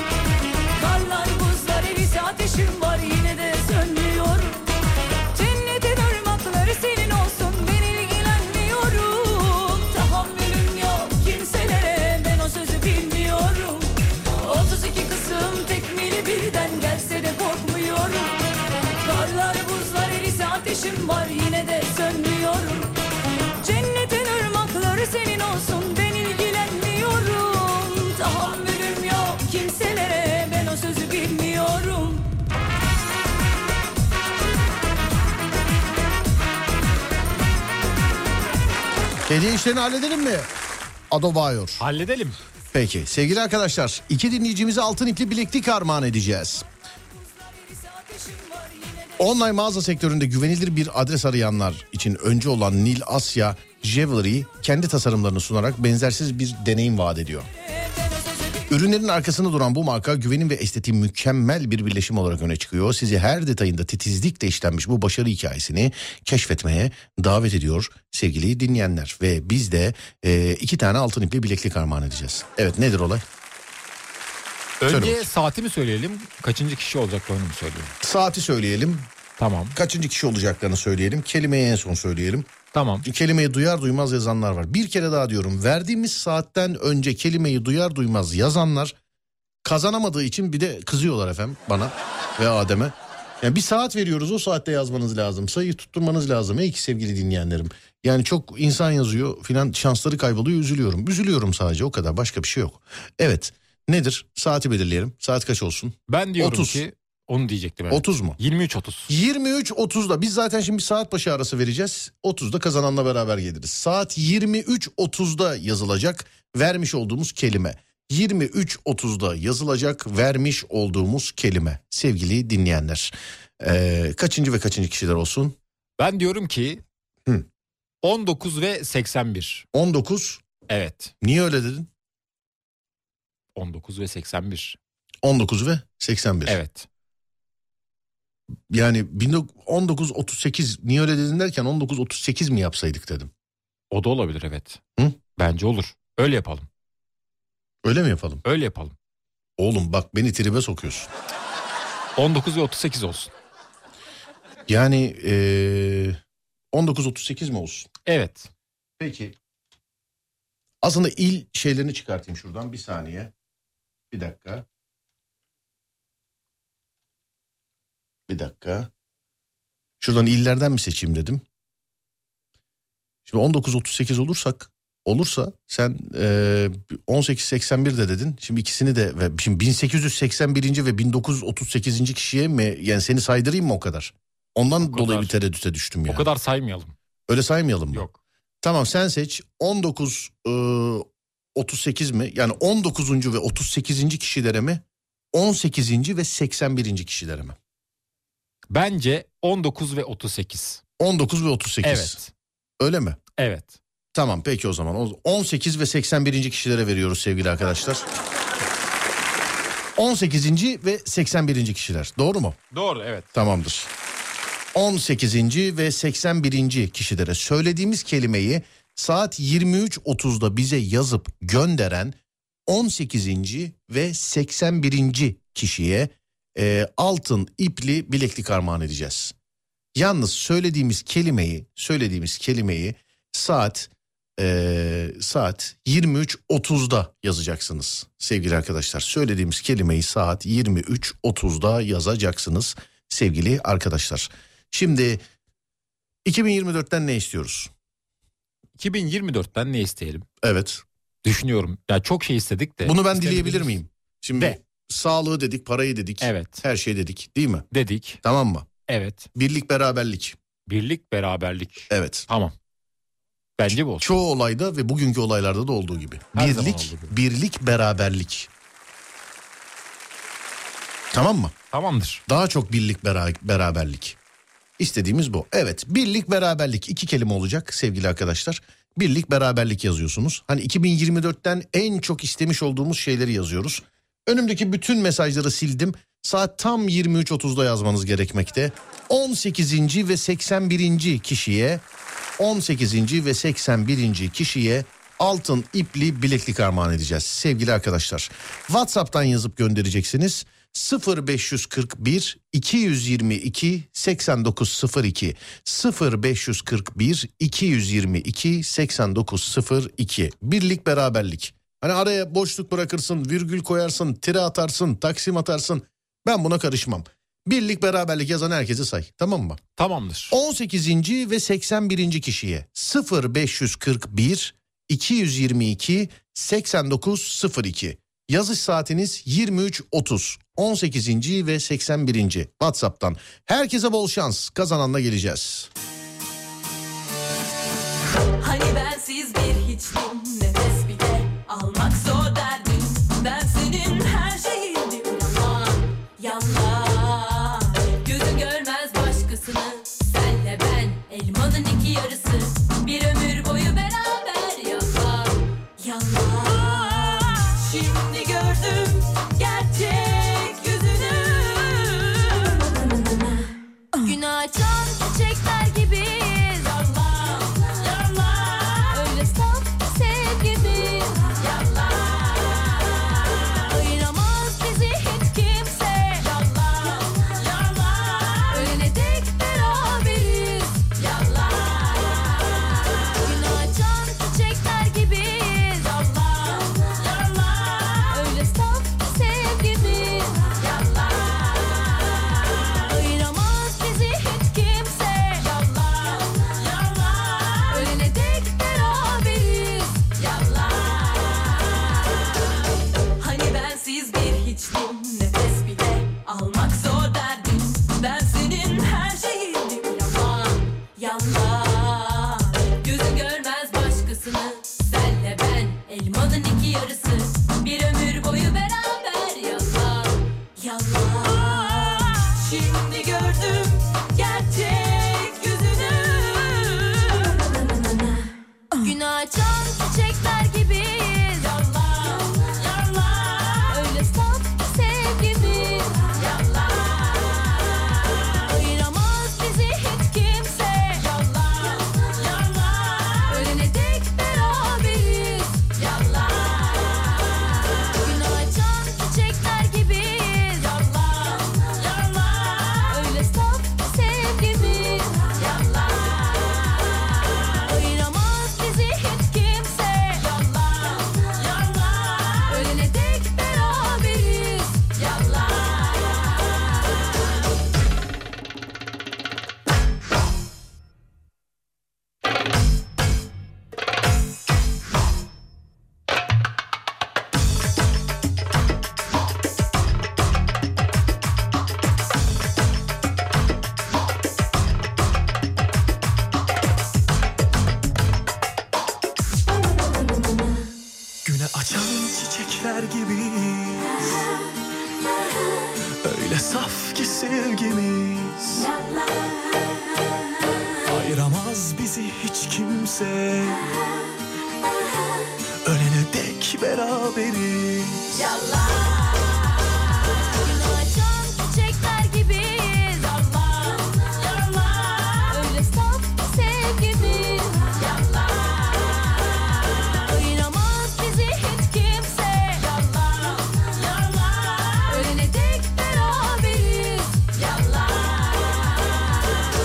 Karlar buzlar erisi ateşim var yine de sönmüyorum Cennetin ırmakları senin olsun ben ilgilenmiyorum Tahammülüm yok kimselere ben o sözü bilmiyorum 32 kısım tekmili birden gelse de korkmuyorum Karlar buzlar erisi ateşim var yine de sönmüyorum Cennetin ırmakları senin olsun ben ilgilenmiyorum Tahammülüm yok kimselere ben o sözü bilmiyorum Hediye işlerini halledelim mi? Adobayor. Halledelim. Peki sevgili arkadaşlar iki dinleyicimize altın ipli bileklik armağan edeceğiz. Online mağaza sektöründe güvenilir bir adres arayanlar için önce olan Nil Asya Jewelry kendi tasarımlarını sunarak benzersiz bir deneyim vaat ediyor. Ürünlerin arkasında duran bu marka güvenin ve estetiğin mükemmel bir birleşim olarak öne çıkıyor. Sizi her detayında titizlikle işlenmiş bu başarı hikayesini keşfetmeye davet ediyor sevgili dinleyenler. Ve biz de e, iki tane altın ipli bileklik armağan edeceğiz. Evet nedir olay? Söyle Önce bakayım. saati mi söyleyelim? Kaçıncı kişi olacaklarını mı söyleyelim? Saati söyleyelim, Tamam. kaçıncı kişi olacaklarını söyleyelim, kelimeyi en son söyleyelim. Tamam. Çünkü kelimeyi duyar duymaz yazanlar var. Bir kere daha diyorum verdiğimiz saatten önce kelimeyi duyar duymaz yazanlar kazanamadığı için bir de kızıyorlar efendim bana ve Adem'e. Yani bir saat veriyoruz o saatte yazmanız lazım. Sayıyı tutturmanız lazım ey ki sevgili dinleyenlerim. Yani çok insan yazıyor filan şansları kayboluyor üzülüyorum. Üzülüyorum sadece o kadar başka bir şey yok. Evet nedir saati belirleyelim saat kaç olsun? Ben diyorum 30. ki onu diyecektim. Evet. 30 mu? 23.30. 23.30'da biz zaten şimdi bir saat başı arası vereceğiz. 30'da kazananla beraber geliriz. Saat 23.30'da yazılacak vermiş olduğumuz kelime. 23.30'da yazılacak vermiş olduğumuz kelime sevgili dinleyenler. Ee, kaçıncı ve kaçıncı kişiler olsun? Ben diyorum ki Hı. 19 ve 81. 19. Evet. Niye öyle dedin? 19 ve 81. 19 ve 81. Evet. Yani 1938 niye öyle dedin derken 1938 mi yapsaydık dedim. O da olabilir evet. Hı? Bence olur. Öyle yapalım. Öyle mi yapalım? Öyle yapalım. Oğlum bak beni tribe sokuyorsun. 19 ve 38 olsun. Yani eee 19.38 mi olsun? Evet. Peki. Aslında il şeylerini çıkartayım şuradan bir saniye. Bir dakika. Bir dakika. Şuradan illerden mi seçeyim dedim. Şimdi 19.38 olursak olursa sen eee 18.81 de dedin. Şimdi ikisini de ve şimdi 1881. ve 1938. kişiye mi yani seni saydırayım mı o kadar? Ondan kadar. dolayı bir tereddüte düştüm ya. O kadar saymayalım. Öyle saymayalım mı? Yok. Tamam sen seç 19 e, 38 mi? Yani 19. ve 38. kişilere mi? 18. ve 81. kişilere mi? Bence 19 ve 38. 19 ve 38. Evet. Öyle mi? Evet. Tamam peki o zaman. O- 18 ve 81. kişilere veriyoruz sevgili arkadaşlar. 18. ve 81. kişiler. Doğru mu? Doğru evet. Tamamdır. 18. ve 81. kişilere söylediğimiz kelimeyi saat 23.30'da bize yazıp gönderen 18. ve 81. kişiye e, altın ipli bileklik armağan edeceğiz. Yalnız söylediğimiz kelimeyi, söylediğimiz kelimeyi saat Ee, saat 23.30'da yazacaksınız sevgili arkadaşlar. Söylediğimiz kelimeyi saat 23.30'da yazacaksınız sevgili arkadaşlar. Şimdi 2024'ten ne istiyoruz? 2024'ten ne isteyelim? Evet. Düşünüyorum. Ya çok şey istedik de. Bunu ben İstemedik. dileyebilir miyim? Şimdi De. sağlığı dedik, parayı dedik, Evet. her şey dedik değil mi? Dedik. Tamam mı? Evet. Birlik, beraberlik. Birlik, beraberlik. Evet. Tamam. Bence bu olsun. Çoğu olayda ve bugünkü olaylarda da olduğu gibi. Her zaman birlik, olduğu gibi. birlik, beraberlik. Tamam mı? Tamamdır. Daha çok birlik, bera- beraberlik. İstediğimiz bu. Evet, birlik, beraberlik iki kelime olacak sevgili arkadaşlar. Birlik, beraberlik yazıyorsunuz. Hani 2024'ten en çok istemiş olduğumuz şeyleri yazıyoruz. Önümdeki bütün mesajları sildim. Saat tam 23.30'da yazmanız gerekmekte. 18. ve 81. kişiye 18. ve 81. kişiye altın ipli bileklik armağan edeceğiz sevgili arkadaşlar. WhatsApp'tan yazıp göndereceksiniz. 0541 222 8902 0541 222 8902 Birlik beraberlik. Hani araya boşluk bırakırsın, virgül koyarsın, tire atarsın, taksim atarsın. Ben buna karışmam. Birlik beraberlik yazan herkesi say. Tamam mı? Tamamdır. 18. ve 81. kişiye 0541 222 8902 yazış saatiniz 23.30 18. ve 81. WhatsApp'tan herkese bol şans kazananla geleceğiz. Hani bensiz bir hiçtim Nefes bile almak zor derdin Ben senin her şeyindim Yalan, yalan Gözün görmez başkasını Senle ben elmanın iki yarısı Bir ömür boyu beraber Yalan, yalan Şimdi gördüm gerçek yüzünü Gün açan çiçekler gibiyiz Yalan, yalan Öyle saf sevgimiz Yalan Ayıramaz bizi hiç kimse Yalan, yalan Ölene dek beraberiz Yalan Gün açan çiçekler gibiyiz Yalan, yalan Öyle saf sevgimiz Yalan Ayıramaz bizi hiç kimse Yalan, yalan Ölene dek beraberiz Yalan Hani bensiz bir hiçtim Nefes bile almak zor derdim Ben senin her şeyindim Yalan, yalan Gözün görmez başkasını Senle ben elmanın iki yarısı Bir ömür boyu beraber Yalan, yalan Şimdi gördüm gerçek yüzünü Gün açan çiçekler gibiyiz Yalan, yalan Öyle saf sevgimiz Yalan Ayıramaz bizi hiç kimse Yalan, yalan Ölene dek beraberiz Yalan Gün açan çiçekler gibiyiz Yalan, yalan Öyle saf sevgimiz Yalan Ayıramaz bizi hiç kimse Yalan, yalan Ölene dek beraberiz Yalan Güne açan çiçekler gibiyiz Öyle saf ki sevgimiz Ayıramaz bizi hiç kimse Ölene dek beraberiz Açan çiçekler gibiyiz Yalan, yalan Öyle saf sevgimiz Yalan Ayıramaz bizi hiç kimse Yalan, yalan Ölene dek beraberiz Yalan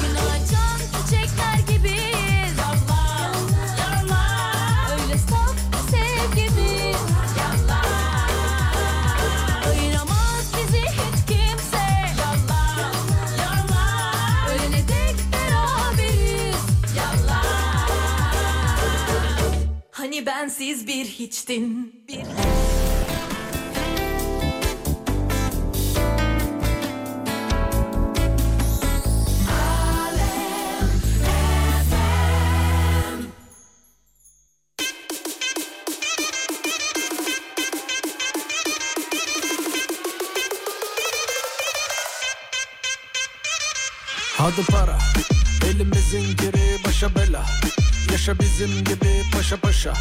Gün açan çiçekler gibiyiz Yalan, yalan değersiz Hani bir hiçtin. Bir Hadi para Elimizin geri başa bela Yaşa bizim gibi paşa paşa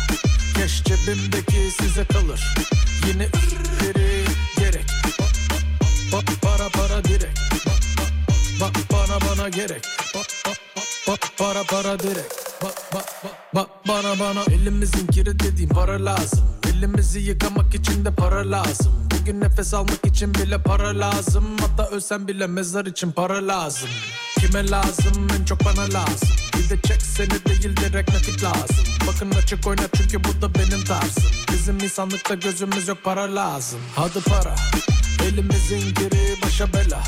Keş cebimdeki size kalır Yine üç biri gerek Ba- ba- Para para direkt Bak bana bana gerek Ba- ba- ba- ba- Para para direkt Bak bak bak bana bana Elimizin kiri dediğim para lazım Elimizi yıkamak için de para lazım Bugün nefes almak için bile para lazım Hatta ölsen bile mezar için para lazım Kime lazım en çok bana lazım Bir de çek seni değil direkt nakit lazım Bakın açık oyna çünkü bu da benim tarzım Bizim insanlıkta gözümüz yok para lazım Hadi para Elimizin geri başa bela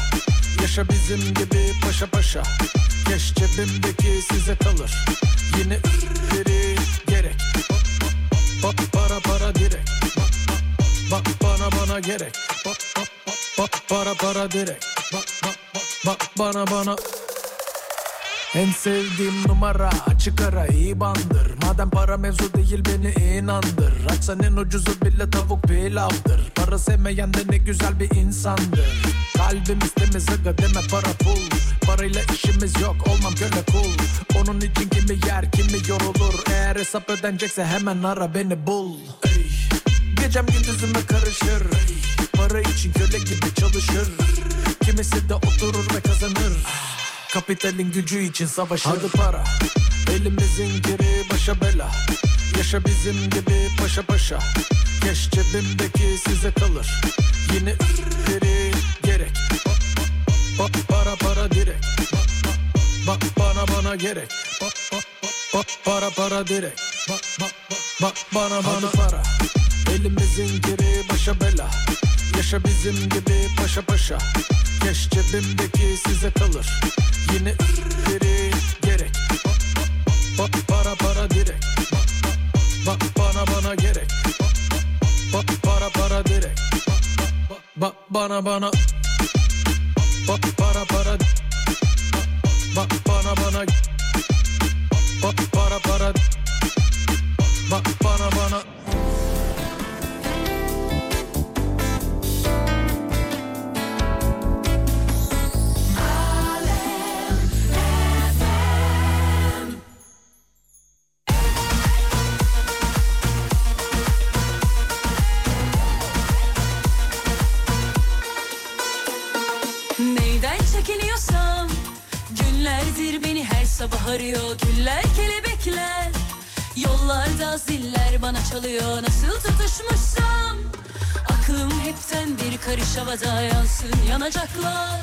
Yaşa bizim gibi paşa paşa Keş cebimdeki size kalır Yine üstleri gerek Ba- ba- Para para direkt Bak bana bana gerek Ba- ba- ba- ba- Para para direkt Bak bak bak bana bana en sevdiğim numara açık ara iyi bandır Madem para mevzu değil beni inandır Açsan en ucuzu bile tavuk pilavdır Para sevmeyen de ne güzel bir insandır Kalbim istemiz aga deme para pul Parayla işimiz yok olmam köle kul Onun için kimi yer kimi yorulur Eğer hesap ödenecekse hemen ara beni bul Ey. Gecem gündüzüme karışır Para için köle gibi çalışır Kimisi de oturur ve kazanır Kapitalin gücü için savaşır Hadi para Elimizin geri başa bela Yaşa bizim gibi paşa paşa Keş cebimdeki size kalır Yine üstleri gerek Ba- ba- Para para direkt Bak bana bana gerek Ba- ba- ba- ba- Para para direkt Bak bak bak bak bana bana para Elimizin geri başa bela Yaşa bizim gibi paşa paşa Keş cebimdeki size kalır Yine üstleri gerek Ba- ba- ba- Para para direkt Bak bak bak bana bana gerek Ba- ba- ba- Para para direkt Bak bak bak bana bana Ba- Para para Bak bana bana Bak para para Bak bana bana Neyden çekiniyorsam Günlerdir beni her sabah arıyor Güller kelebekler Yollarda ziller bana çalıyor Nasıl tutuşmuşsam Aklım hepten bir karış havada Yansın yanacaklar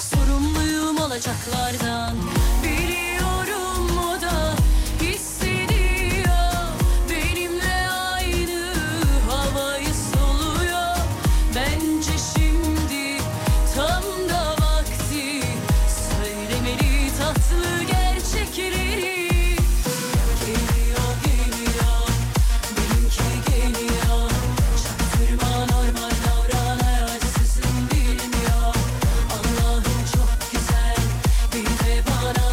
Sorumluyum olacaklardan Biliyorum o da Hissediyor Benimle aynı havayı soluyor Bence şimdi tam da vakti Söylemeli tatlı gerçekleri Geliyor geliyor benimki geliyor Çaktırma normal davran herhalde sizin bilmiyor Allah'ım çok güzel bir de bana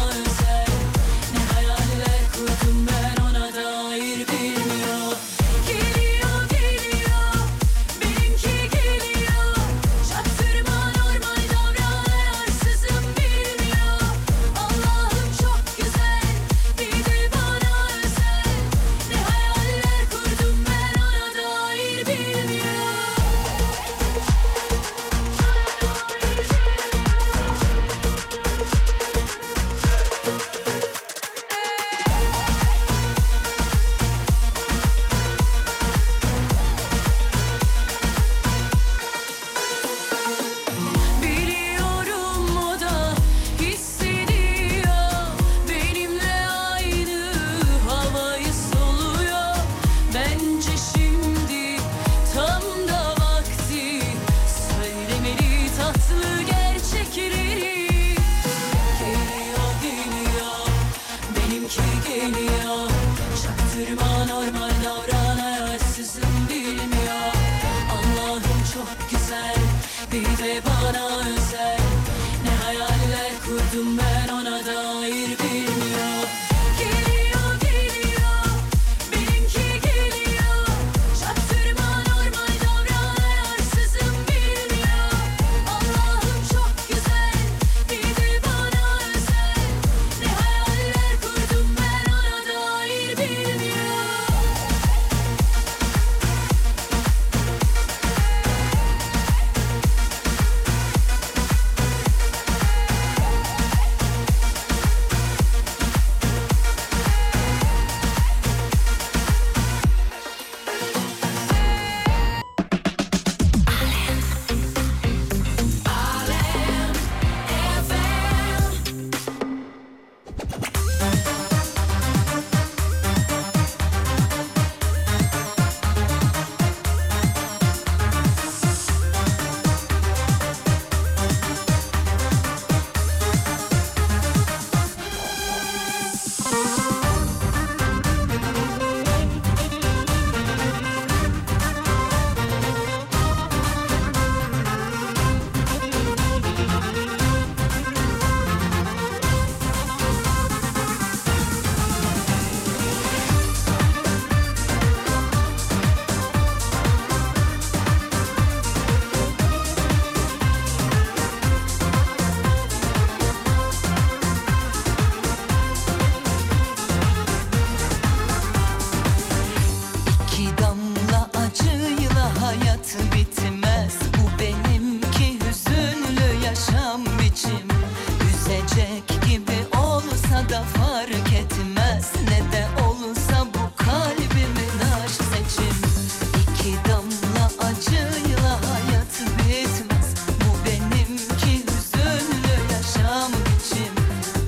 gece bana özel Ne hayaller kurdum ben ona dair bilmiyor Geliyor geliyor benimki geliyor Çaktırma normal davran ayarsızım bilmiyor Allah'ım çok güzel bir de bana özel Ne hayaller kurdum ben ona dair bilmiyor İki damla acıyla hayat bitmez Bu benimki hüzünlü yaşam biçim Üzecek gibi olsa da fark etmez Ne de olsa bu kalbimin aşk seçim İki damla acıyla hayat bitmez Bu benimki hüzünlü yaşam biçim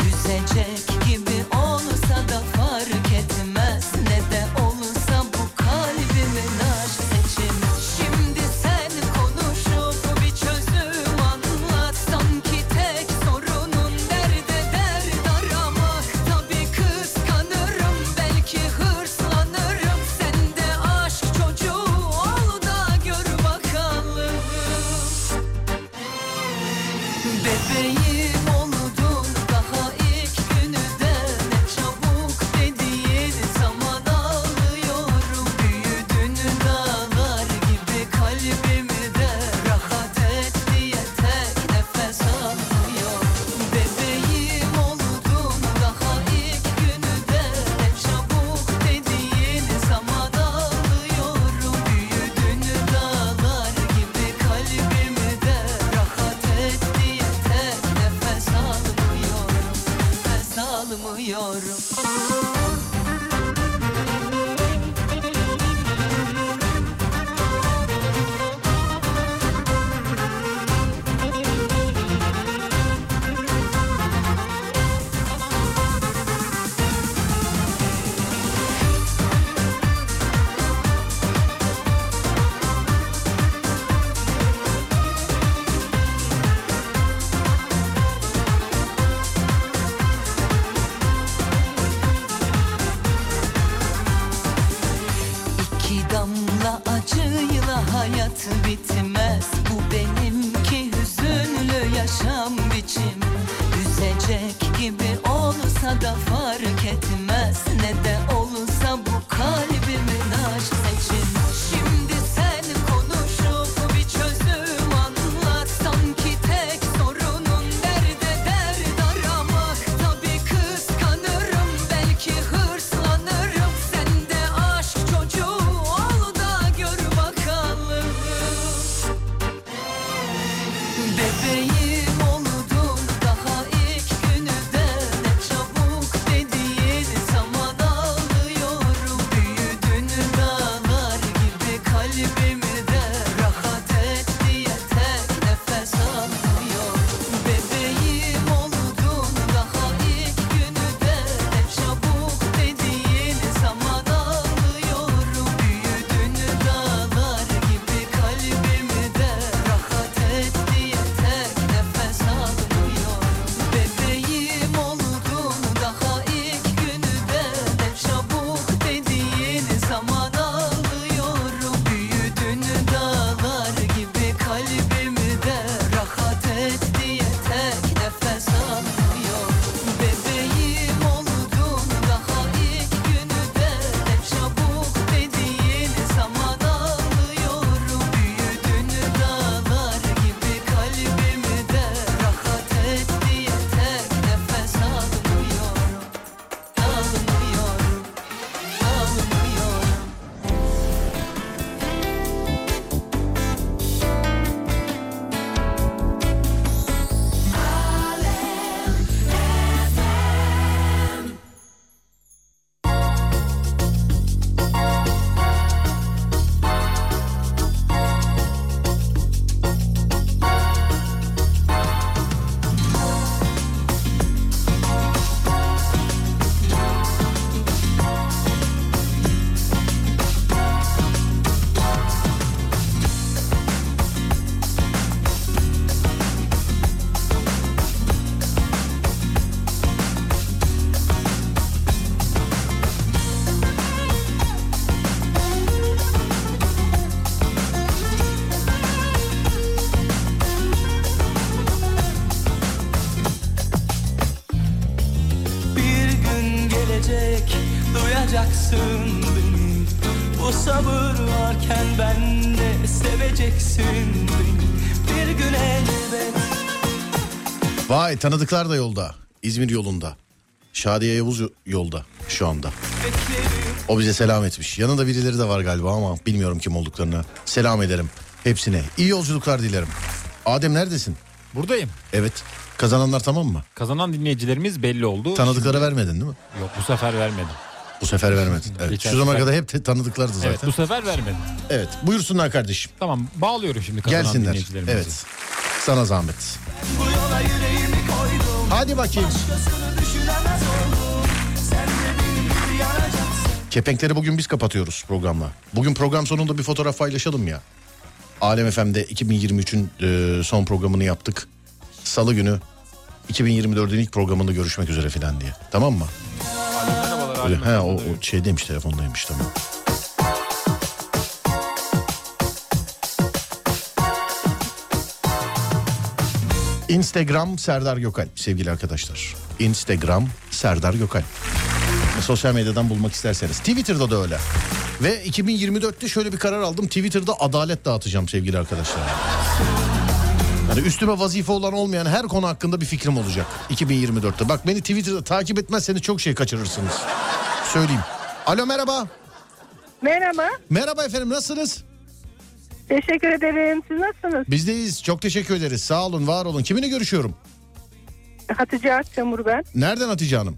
Üzecek gibi olsa da fark etmez Ne de olsa bu kalbimin aşk seçim Şimdi sen konuşup bir çözüm anlat Sanki tek sorunun derde dert aramak Tabii kıskanırım belki hırslanırım Sen de aşk çocuğu ol da gör bakalım Bebeğim oldun daha ilk günüde ne çabuk dediğin zaman ağlıyorum büyüdün dağlar gibi kalbimde rahat et diye tek nefes alıyor. Bebeğim oldun daha ilk günüde ne çabuk dediğin zaman ağlıyorum büyüdün dağlar gibi kalbimde rahat et diye tek nefes almıyorum, nefes almıyorum. İki damla acıyla hayat bitmez Bu benimki hüzünlü yaşam biçim Üzecek gibi olsa da fark etmez Ne de olsa bu kalbimin aşk seçim Şimdi sen konuşup bir çözüm anlat Sanki tek sorunun derde dert aramak Tabii kıskanırım belki hırslanırım Sen de aşk çocuğu ol da gör bakalım Bebeğim oldun daha ilk günüde ne çabuk dediğin zaman ağlıyorum büyüdün dağlar gibi kalbimde rahat et diye tek nefes alıyor bebeğim oldun daha ilk günüde ne çabuk dediğin zaman ağlıyorum büyüdün dağlar gibi kalbimde rahat et diye tek nefes almıyorum bebeğim oldun daha ilk günüde ne çabuk dediğin zaman ağlıyorum büyüdün Seveceksin beni bir gün elbet Vay tanıdıklar da yolda. İzmir yolunda. Şadiye Yavuz yolda şu anda. O bize selam etmiş. Yanında birileri de var galiba ama bilmiyorum kim olduklarını. Selam ederim hepsine. İyi yolculuklar dilerim. Adem neredesin? Buradayım. Evet. Kazananlar tamam mı? Kazanan dinleyicilerimiz belli oldu. Tanıdıklara vermedin değil mi? Yok bu sefer vermedim. Bu sefer vermedin. Evet. Geçen Şu zamana sefer- kadar hep te- tanıdıklardı zaten. Evet bu sefer vermedim. Evet. Buyursunlar kardeşim. Tamam bağlıyorum şimdi kazanan Gelsinler. dinleyicilerimizi. Evet. Sana zahmet. Bu yola yüreğimi koydum Hadi bakayım. Başkasını düşünemez oldum Sen de benim gibi yanacaksın Kepenkleri bugün biz kapatıyoruz programla. Bugün program sonunda bir fotoğraf paylaşalım ya. Alem FM'de 2023'ün e, son programını yaptık. Salı günü 2024'ün ilk programında görüşmek üzere filan diye. Tamam mı? Merhabalar Öyle, Halim. he, o, o şeydeymiş telefondaymış tamam. Instagram Serdar Gökalp sevgili arkadaşlar. Instagram Serdar Gökalp. Sosyal medyadan bulmak isterseniz. Twitter'da da öyle. Ve 2024'te şöyle bir karar aldım. Twitter'da adalet dağıtacağım sevgili arkadaşlar. Yani üstüme vazife olan olmayan her konu hakkında bir fikrim olacak 2024'te. Bak beni Twitter'da takip etmezseniz çok şey kaçırırsınız. Söyleyeyim. Alo merhaba. Merhaba. Merhaba efendim nasılsınız? Teşekkür ederim. Siz nasılsınız? Bizdeyiz. Çok teşekkür ederiz. Sağ olun, var olun. Kiminle görüşüyorum? Hatice Akçamur ben. Nereden Hatice Hanım?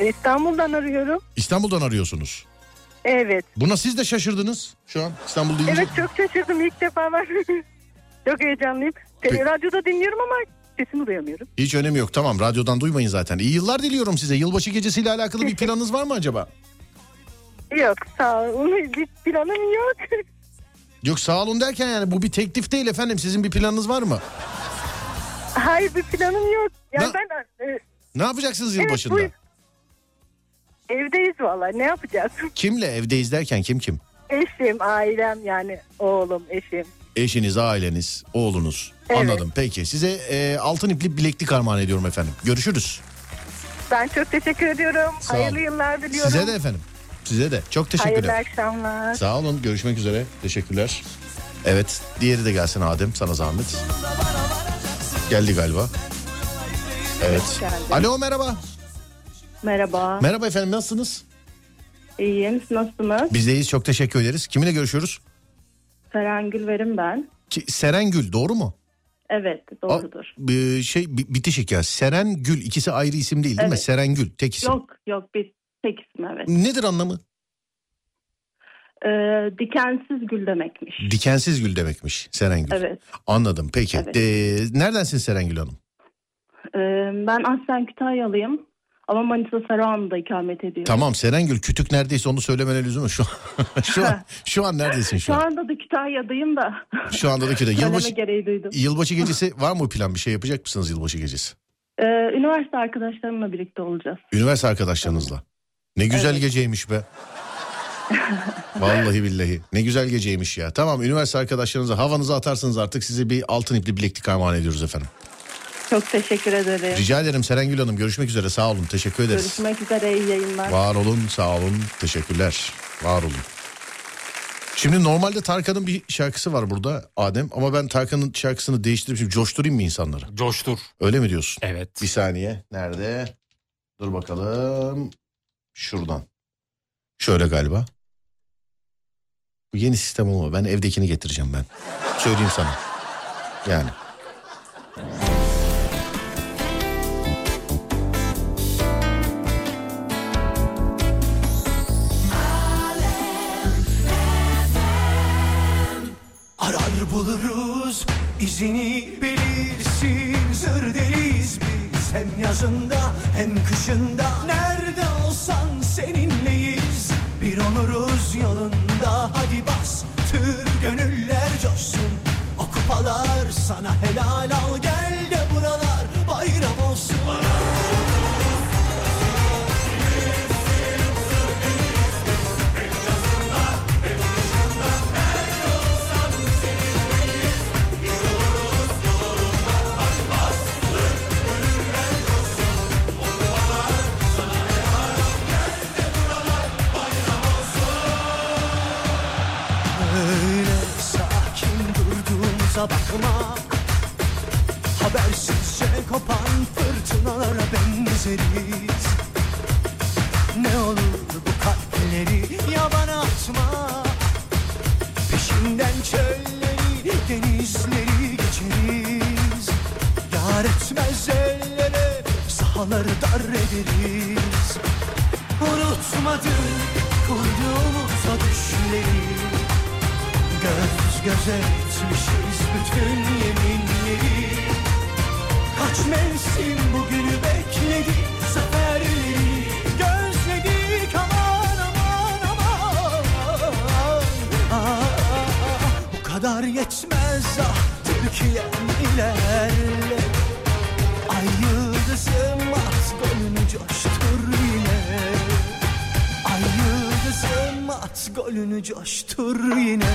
İstanbul'dan arıyorum. İstanbul'dan arıyorsunuz. Evet. Buna siz de şaşırdınız şu an İstanbul deyince. Evet çok şaşırdım. İlk defa var. çok heyecanlıyım. Peki. Te- radyoda dinliyorum ama sesini duyamıyorum. Hiç önemi yok. Tamam radyodan duymayın zaten. İyi yıllar diliyorum size. Yılbaşı gecesiyle alakalı bir planınız var mı acaba? Yok sağ olun. Bir planım yok. Yok sağ olun derken yani bu bir teklif değil efendim. Sizin bir planınız var mı? Hayır bir planım yok. Yani Ne- ben e, Ne yapacaksınız Evet, yılbaşında? buyur. evdeyiz valla. Ne yapacağız? Kimle evdeyiz derken kim kim? Eşim, ailem yani oğlum, eşim. Eşiniz, aileniz, oğlunuz. Evet. Anladım. Peki size e, altın ipli bileklik armağan ediyorum efendim. Görüşürüz. Ben çok teşekkür ediyorum. Sağ olun. Hayırlı yıllar diliyorum. Size de efendim. Size de. Çok teşekkürler. Hayırlı akşamlar. Sağ olun. Görüşmek üzere. Teşekkürler. Evet. Diğeri de gelsin Adem. Sana zahmet. Geldi galiba. Evet. Geldi. Alo merhaba. Merhaba. Merhaba efendim nasılsınız? İyiyim. Siz Nasılsınız? Bizdeyiz. Çok teşekkür ederiz. Kiminle görüşüyoruz? Ferengül Verim ben. Ki, Serengül doğru mu? Evet A- doğrudur. Ee, şey bi- bitişik ya. Serengül ikisi ayrı isim değil değil mi? Evet. Serengül tek isim. Yok yok bir tek ismi evet. Nedir anlamı? Ee, dikensiz gül demekmiş. Dikensiz gül demekmiş Serengül. Evet. Anladım peki. Evet. Ee, neredensin Serengül Hanım? Ee, ben aslen Kütahyalıyım. Ama Manisa Sarıhan'da ikamet ediyorum. Tamam Serengül kütük neredeyse onu söylemene lüzum yok. Şu an, şu an, şu an neredesin şu Şu an? anda da Kütahya'dayım da. Şu anda da kütük. Yılbaşı... Yılbaşı, Söyleme gereği duydum. yılbaşı gecesi var mı plan bir şey yapacak mısınız yılbaşı gecesi? Ee, üniversite arkadaşlarımla birlikte olacağız. Üniversite arkadaşlarınızla. Ne güzel Evet. geceymiş be. Vallahi billahi ne güzel geceymiş ya. Tamam üniversite arkadaşlarınıza havanızı atarsınız artık size bir altın ipli bileklik armağan ediyoruz efendim. Çok teşekkür ederim. Rica ederim Serengül Hanım görüşmek üzere sağ olun teşekkür ederiz. Görüşmek üzere iyi yayınlar. Var olun, sağ olun, teşekkürler. Var olun. Şimdi normalde Tarkan'ın bir şarkısı var burada Adem ama ben Tarkan'ın şarkısını değiştirip şimdi coşturayım mı insanları? Coştur. Öyle mi diyorsun? Evet. Bir saniye. Nerede? Dur bakalım. Şuradan. Şöyle galiba. Bu yeni sistem olma. Ben evdekini getireceğim ben. Söyleyeyim sana. Yani. Arar buluruz izini belirsin Zır deliyiz biz hem yazında hem kışında Nerede olsan seninleyiz Bir onuruz yolunda Hadi bas tır gönüller coşsun O kupalar sana helal al Gel de buralar bayram olsun bakma Habersizce kopan fırtınalara benzeriz Ne olur bu kalpleri yabana atma Peşinden çölleri denizleri geçeriz Yar etmez ellere sahaları dar ederiz Unutmadım kurduğumuz o düşleri Göz göze etmişiz bütün yeminleri Kaç mevsim bugünü bekledi seferleri Gözledik aman aman aman Ah, Bu kadar yetmez ah Türkiye'm ilerle Ay yıldızım at golünü coştur yine Ay yıldızım at golünü coştur yine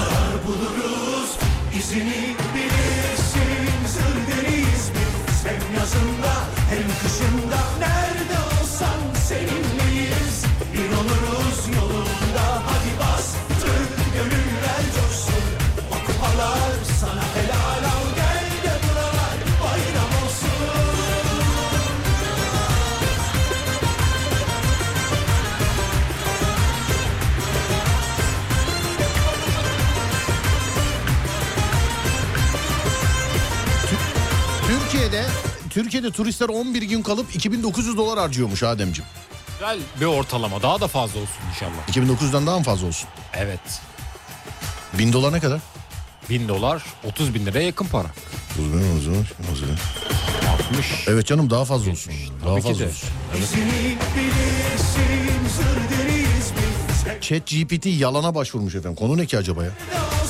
Arar buluruz izini bilirsin Zır deriz biz hem yazında hem kışında Nerede olsan seninleyiz Bir oluruz yolunda hadi bastır gönüller coşsun O kupalar sana helal al gel de buralar bayram olsun Türkiye'de Türkiye'de turistler 11 gün kalıp 2900 dolar harcıyormuş Ademciğim. Güzel bir ortalama daha da fazla olsun inşallah. 2900'den daha mı fazla olsun? Evet. 1000 dolar ne kadar? 1000 dolar 30 bin liraya yakın para. 60. Evet canım daha fazla olsun. Daha Tabii ki fazla de. olsun. İzini bilirsin zır deriz biz hem Chat GPT yalana başvurmuş efendim. Konu ne ki acaba ya?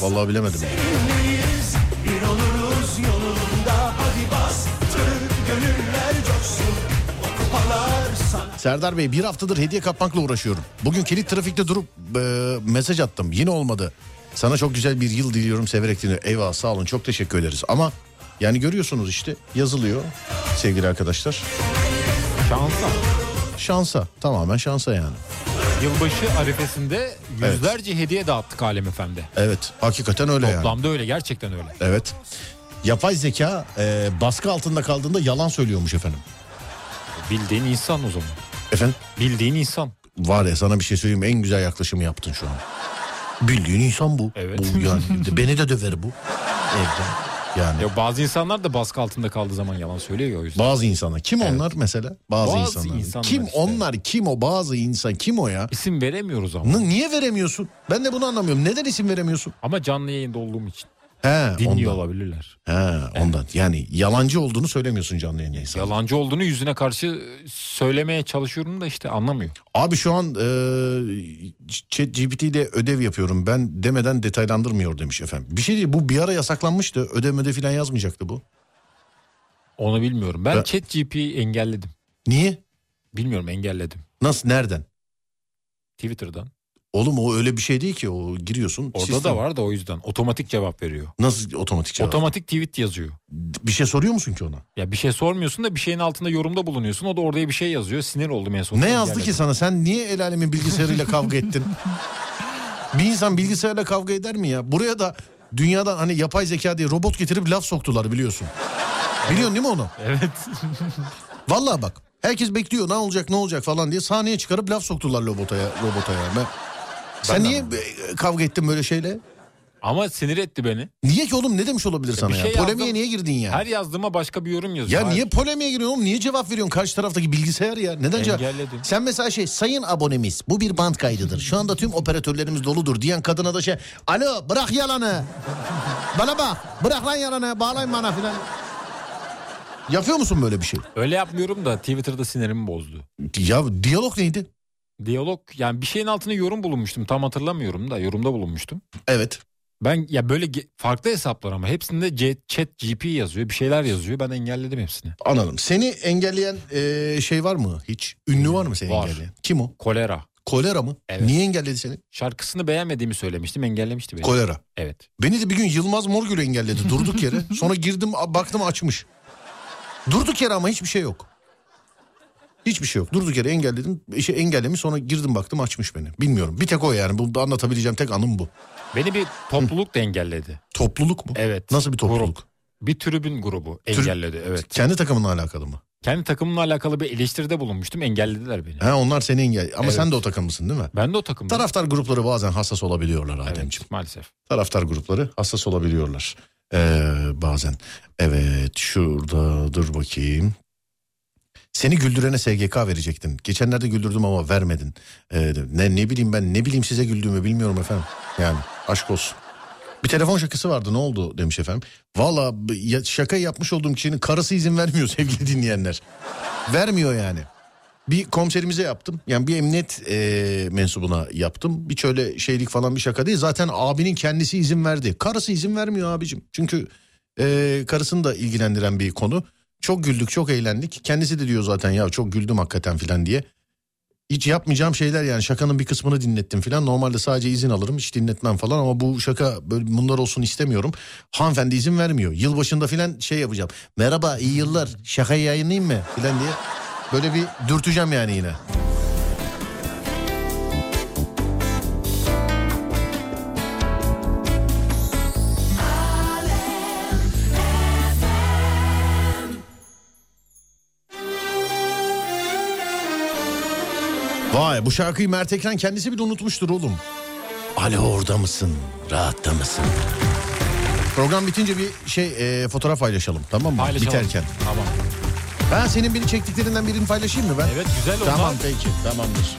Vallahi bilemedim. Seninleyiz bir oluruz yolunda hadi bastır gönüller coşsun o kupalar sana Serdar Bey bir haftadır hediye kapmakla uğraşıyorum. Bugün kilit trafikte durup e, mesaj attım. Yine olmadı. Sana çok güzel bir yıl diliyorum severek dinliyorum. Eyvah sağ olun çok teşekkür ederiz. Ama yani görüyorsunuz işte yazılıyor sevgili arkadaşlar. Şansa. Şansa tamamen şansa yani. Yılbaşı arifesinde yüzlerce hediye dağıttık Alem Efendi. Evet hakikaten öyle yani. Toplamda öyle gerçekten öyle. Evet. Yapay zeka e, baskı altında kaldığında yalan söylüyormuş efendim. Bildiğin insan o zaman. Efendim? Bildiğin insan. Var ya sana bir şey söyleyeyim mi? en güzel yaklaşımı yaptın şu an. Bildiğin insan bu. Evet. Bu yani beni de döver bu. Evde. Yani Ya bazı insanlar da baskı altında kaldığı zaman yalan söylüyor ya o yüzden. bazı insanlar kim onlar mesela? Bazı, Bazı insanlar. insanlar Kim işte. onlar? Kim o bazı insan? Kim o ya? İsim veremiyoruz ama. N- Niye veremiyorsun? Ben de bunu anlamıyorum. Neden isim veremiyorsun? Ama canlı yayında olduğum için. He, Dinliyor ondan. olabilirler. He, ondan. Yani yalancı olduğunu söylemiyorsun canlı yayında insan. Yalancı olduğunu yüzüne karşı söylemeye çalışıyorum da işte anlamıyor. Abi şu an e, ChatGPT ile ödev yapıyorum ben demeden detaylandırmıyor demiş efendim. Bir şey değil bu bir ara yasaklanmıştı ödev ödev falan yazmayacaktı bu. Onu bilmiyorum. Ben Ben- chat GP'yi engelledim. Niye? Bilmiyorum engelledim. Nasıl nereden? Twitter'dan. Oğlum o öyle bir şey değil ki o giriyorsun. Orada sistem- da var da o yüzden. Otomatik cevap veriyor. Nasıl otomatik cevap? Otomatik tweet yazıyor. bir şey soruyor musun ki ona? Ya bir şey sormuyorsun da bir şeyin altında yorumda bulunuyorsun. O da oraya bir şey yazıyor. Sinir oldum en son. ne yazdı ki sana sen niye el alemin bilgisayarıyla kavga ettin? Bir insan bilgisayarla kavga eder mi ya? Buraya da dünyadan hani yapay zeka diye robot getirip laf soktular biliyorsun. Biliyorsun değil mi onu? Evet. Vallahi bak herkes bekliyor ne olacak ne olacak falan diye sahneye çıkarıp laf soktular robota ya, robota ya. Ben- sen niye e, kavga ettin böyle şeyle? Ama sinir etti beni. Niye ki oğlum ne demiş olabilir sana bir ya? şey polemiğe yazdım. niye girdin ya? Her yazdığıma başka bir yorum yazıyor. ya Hayır. niye polemiğe giriyorsun oğlum? Niye cevap veriyorsun karşı taraftaki bilgisayar ya? Neden cevap? Engelledim. Sen mesela şey sayın abonemiz bu bir band kaydıdır. Şu anda tüm operatörlerimiz doludur diyen kadına da şey alo bırak yalanı. Bana bak bırak lan yalanı bağlayın bana filan. Yapıyor musun böyle bir şey? Öyle yapmıyorum da Twitter'da sinirimi bozdu. Ya diyalog neydi? Diyalog yani bir şeyin altına yorum bulunmuştum. Tam hatırlamıyorum da yorumda bulunmuştum. Evet. Ben ya böyle ge- farklı hesaplar ama hepsinde C- chat GP yazıyor. Bir şeyler yazıyor. Ben engelledim hepsini. Anladım. Seni engelleyen eee, şey var mı hiç? Ünlü var mı seni Var. engelleyen? Kim o? Kolera. Kolera mı? Evet. Niye engelledi seni? Şarkısını beğenmediğimi söylemiştim. Engellemişti beni. Kolera. evet. Beni de bir gün Yılmaz Morgül engelledi durduk yere. Sonra girdim a- baktım açmış. Durduk yere ama hiçbir şey yok. Hiçbir şey yok. Durduk yere engelledim. İşe engellemiş sonra girdim baktım açmış beni. Bilmiyorum. Bir tek o yani. Bunu da anlatabileceğim tek anım bu. Beni bir topluluk da engelledi. Topluluk mu? Evet. Nasıl bir topluluk? Bir tribün grubu engelledi evet. Kendi takımınla alakalı mı? Kendi takımımla alakalı bir eleştiride bulunmuştum engellediler beni. He, onlar seni engel. Ama Evet. sen de o takımlısın değil mi? Ben de o takımda. Taraftar grupları bazen hassas olabiliyorlar Ademciğim. maalesef. Taraftar grupları hassas olabiliyorlar. Ee, bazen. Evet şurada dur bakayım. Seni güldürene SGK verecektin. Geçenlerde güldürdüm ama vermedin. Ee, de- ne ne bileyim ben ne bileyim size güldüğümü bilmiyorum efendim. Yani aşk olsun. Bir telefon şakası vardı ne oldu demiş efendim. Valla b- ya- şaka yapmış olduğum kişinin karısı izin vermiyor sevgili dinleyenler. Vermiyor yani. Bir komiserimize yaptım. Yani bir emniyet eee, mensubuna yaptım. Hiç öyle şeylik falan bir şaka değil. Zaten abinin kendisi izin verdi. Karısı izin vermiyor abicim. Çünkü eee, karısını da ilgilendiren bir konu. Çok güldük, çok eğlendik. Kendisi de diyor zaten ya çok güldüm hakikaten filan diye. Hiç yapmayacağım şeyler yani şakanın bir kısmını dinlettim filan. Normalde sadece izin alırım hiç dinletmem falan ama bu şaka böyle bunlar olsun istemiyorum. Hanımefendi izin vermiyor. Yılbaşında filan şey yapacağım. Merhaba iyi yıllar şakayı yayınlayayım mı filan diye. Böyle bir dürteceğim yani yine. Vay bu şarkıyı Mert Ekren kendisi bile unutmuştur oğlum. Alo orada mısın? Rahatta mısın? Program bitince bir şey e, fotoğraf paylaşalım tamam mı? Paylaşalım. Biterken. Tamam. Ben senin beni çektiklerinden birini paylaşayım mı ben? Evet güzel oldu. Tamam peki tamamdır.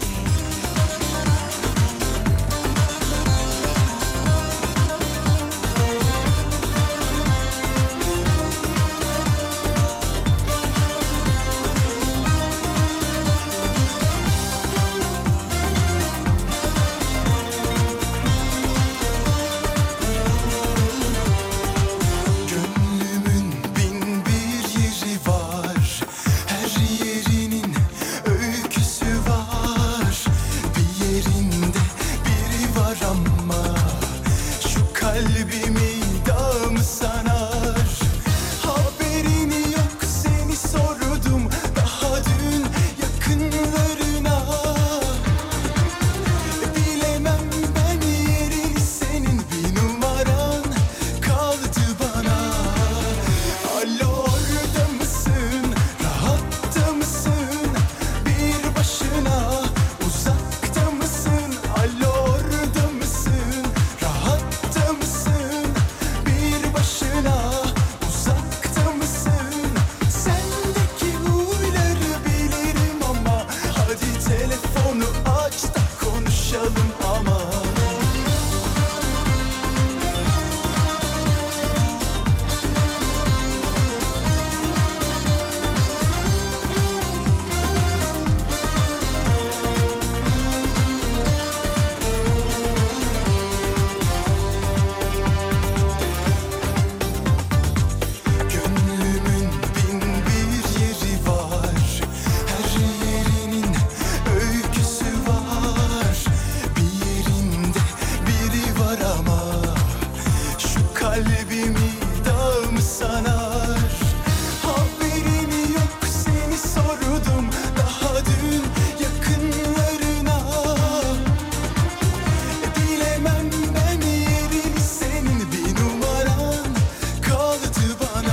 Bir yeri var, her yerinin öyküsü var. Bir yerinde biri var ama şu kalbimi dağım sanar. Haberini yok seni sordum daha dün yakınlarına. Bilemem ben yerini senin bir numaran kaldı bana. Alo orada mısın? Rahatta mısın? Bir başına uzakta mısın? Alo orada mısın? Rahatta mısın? Bir başına uzakta mısın? Sendeki huyları bilirim ama hadi telefonu aç da konuşalım ama. Gönlümün bin bir yeri var, her yerinin öyküsü var. Bir yerinde biri var ama şu kalbimi dağım sanar. Haberini yok seni sordum daha dün yakınlarına. Dilemem ben yerim senin bir numaran kaldı bana.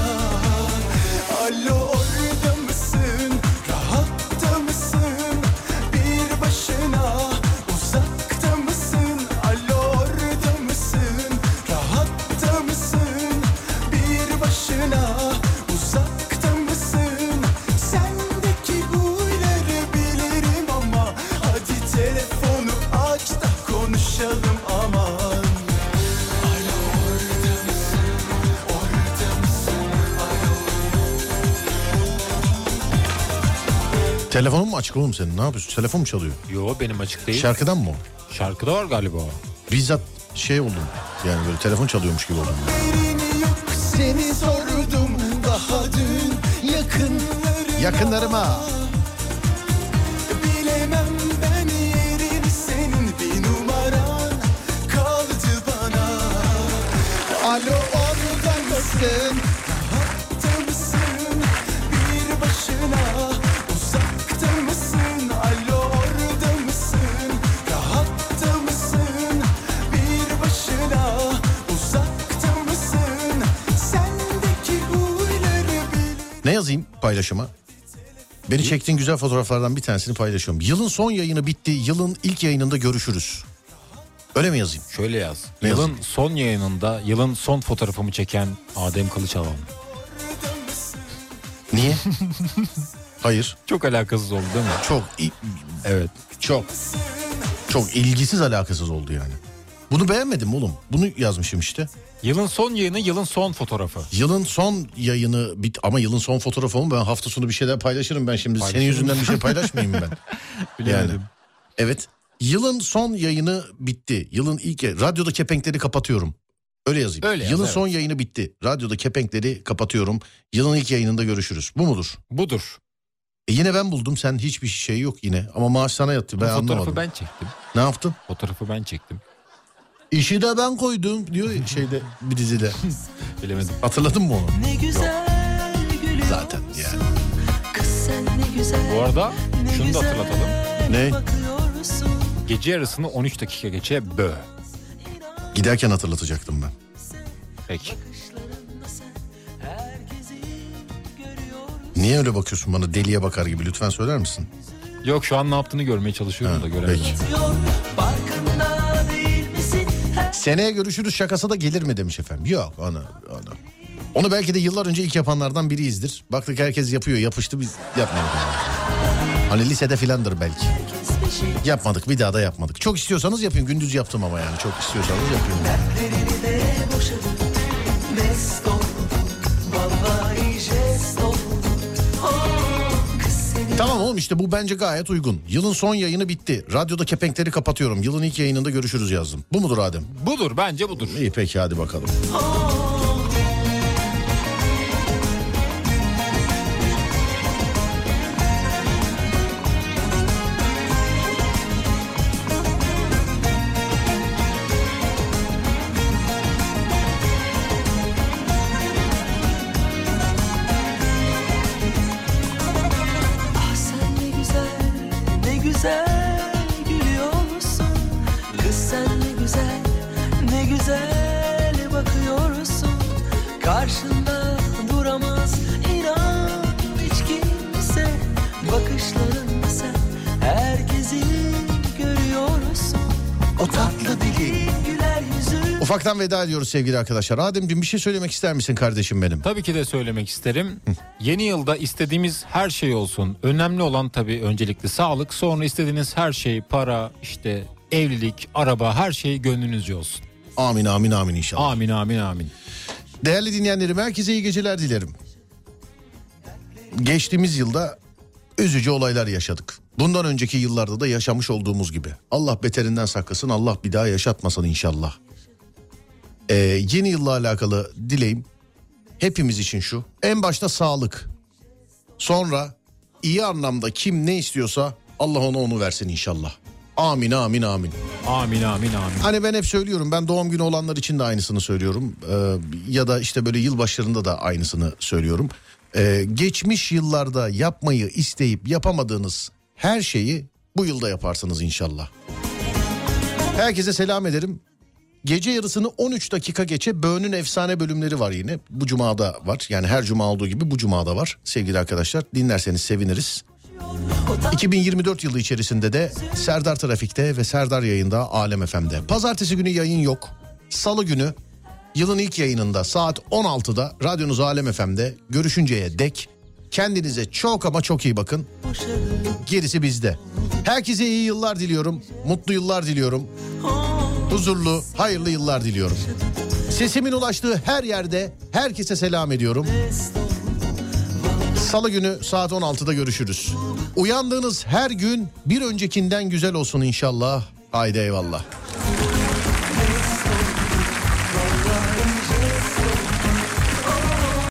Alo orada mısın? Rahatta mısın? Bir başına uzakta mısın? Alo orada mısın? Rahatta mısın? Bir başına uzakta mısın? Sendeki huyları bilirim ama hadi telefonu aç da konuşalım aman. Alo orada mısın? Orada mısın? Alo. Telefonun mu açık oğlum senin? Ne yapıyorsun? Telefon mu çalıyor? Yo benim açık değil. Şarkıdan mı o? Şarkıda var galiba o. Bizzat şey oldum. Yani böyle telefon çalıyormuş gibi oldum. Seni sordum daha dün yakınlarına. Yakınlarıma. Bilemem ben yerim senin bir numaran kaldı bana. Alo orada mısın? Rahatta mısın? Bir başına uzakta mı? yazayım paylaşıma. Beni çektiğin güzel fotoğraflardan bir tanesini paylaşıyorum. Yılın son yayını bitti. Yılın ilk yayınında görüşürüz. Öyle mi yazayım? Şöyle yaz. yılın son yayınında yılın son fotoğrafımı çeken Adem Kılıçalan. Niye? Hayır. Çok alakasız oldu değil mi? Çok. Evet. Çok. Çok ilgisiz alakasız oldu yani. Bunu beğenmedim mi oğlum. Bunu yazmışım işte. Yılın son yayını yılın son fotoğrafı. Yılın son yayını bit ama yılın son fotoğrafı mı? Ben hafta sonu bir şeyler paylaşırım ben şimdi. Senin Paylaşırım. yüzünden bir şey paylaşmayayım ben. Bilemedim. Evet. Yılın son yayını bitti. Yılın ilk radyoda kepenkleri kapatıyorum. Öyle yazayım. Öyle yaz, Yılın evet. son yayını bitti. Radyoda kepenkleri kapatıyorum. Yılın ilk yayınında görüşürüz. Bu mudur? Budur. E yine ben buldum. Sen hiçbir şey yok yine. Ama maaş sana yattı. Ben Bu fotoğrafı anlamadım. ben çektim. Ne yaptın? Fotoğrafı ben çektim. İşi de ben koydum diyor ya şeyde bir dizide. Bilemedim. Hatırladın mı onu? Ne güzel gülüyorsun. Zaten yani. Kız sen ne güzel. Bu arada ne şunu da güzel hatırlatalım. Ne? Bakıyorsun. Gece yarısını 13 dakika geçe bö. Giderken hatırlatacaktım ben. Peki. Niye öyle bakıyorsun bana deliye bakar gibi lütfen söyler misin? Yok şu an ne yaptığını görmeye çalışıyorum da göremedim. Farkında değil misin? Seneye görüşürüz şakası da gelir mi demiş efendim. Yok onu, onu. Onu belki de yıllar önce ilk yapanlardan biriyizdir. Baktık herkes yapıyor yapıştı biz yapmadık. Hani lisede filandır belki. Yapmadık bir daha da yapmadık. Çok istiyorsanız yapın gündüz yaptım ama yani çok istiyorsanız yapın. Derini de boşadık. Mest olduk. Vallahi jest olduk. Oh, kız seni Tamam oğlum işte bu bence gayet uygun. Yılın son yayını bitti. Radyoda kepenkleri kapatıyorum. Yılın ilk yayınında görüşürüz yazdım. Bu mudur Adem? Budur bence budur. İyi peki hadi bakalım. Ah sen ne güzel, ne güzel gülüyorsun. Kız sen ne güzel, ne güzel bakıyorsun. Karşında duramaz inan hiç kimse. Bakışlarında sen herkesi görüyorsun. O tatlı dili, güler yüzü. Ufaktan veda ediyoruz sevgili arkadaşlar. Ademciğim bir şey söylemek ister misin kardeşim benim? Tabii ki de söylemek isterim. Yeni yılda istediğimiz her şey olsun. Önemli olan tabii öncelikle sağlık. Sonra istediğiniz her şey, para, işte evlilik, araba, her şey gönlünüzce olsun. Amin amin amin inşallah. Amin amin amin. Değerli dinleyenlerim herkese iyi geceler dilerim. Geçtiğimiz yılda üzücü olaylar yaşadık. Bundan önceki yıllarda da yaşamış olduğumuz gibi. Allah beterinden saklasın, Allah bir daha yaşatmasın inşallah. Ee, yeni yılla alakalı dileğim hepimiz için şu. En başta sağlık. Sonra iyi anlamda kim ne istiyorsa Allah ona onu versin inşallah. Amin amin amin. Amin amin amin. Hani ben hep söylüyorum ben doğum günü olanlar için de aynısını söylüyorum. Ee, ya da işte böyle yılbaşlarında da aynısını söylüyorum. Ee, geçmiş yıllarda yapmayı isteyip yapamadığınız her şeyi bu yılda yaparsınız inşallah. Herkese selam ederim. Gece yarısını 13 dakika geçe Böğün'ün efsane bölümleri var yine. Bu cumada var. Yani her cuma olduğu gibi bu cumada var sevgili arkadaşlar. Dinlerseniz seviniriz. 2024 yılı içerisinde de Serdar Trafik'te ve Serdar Yayında Alem FM'de. Pazartesi günü yayın yok. Salı günü yılın ilk yayınında saat 16'da radyonuz Alem FM'de görüşünceye dek kendinize çok ama çok iyi bakın. Gerisi bizde. Herkese iyi yıllar diliyorum. Mutlu yıllar diliyorum. Huzurlu, hayırlı yıllar diliyorum. Sesimin ulaştığı her yerde herkese selam ediyorum. Salı günü saat 16'da görüşürüz. Uyandığınız her gün bir öncekinden güzel olsun inşallah. Haydi eyvallah.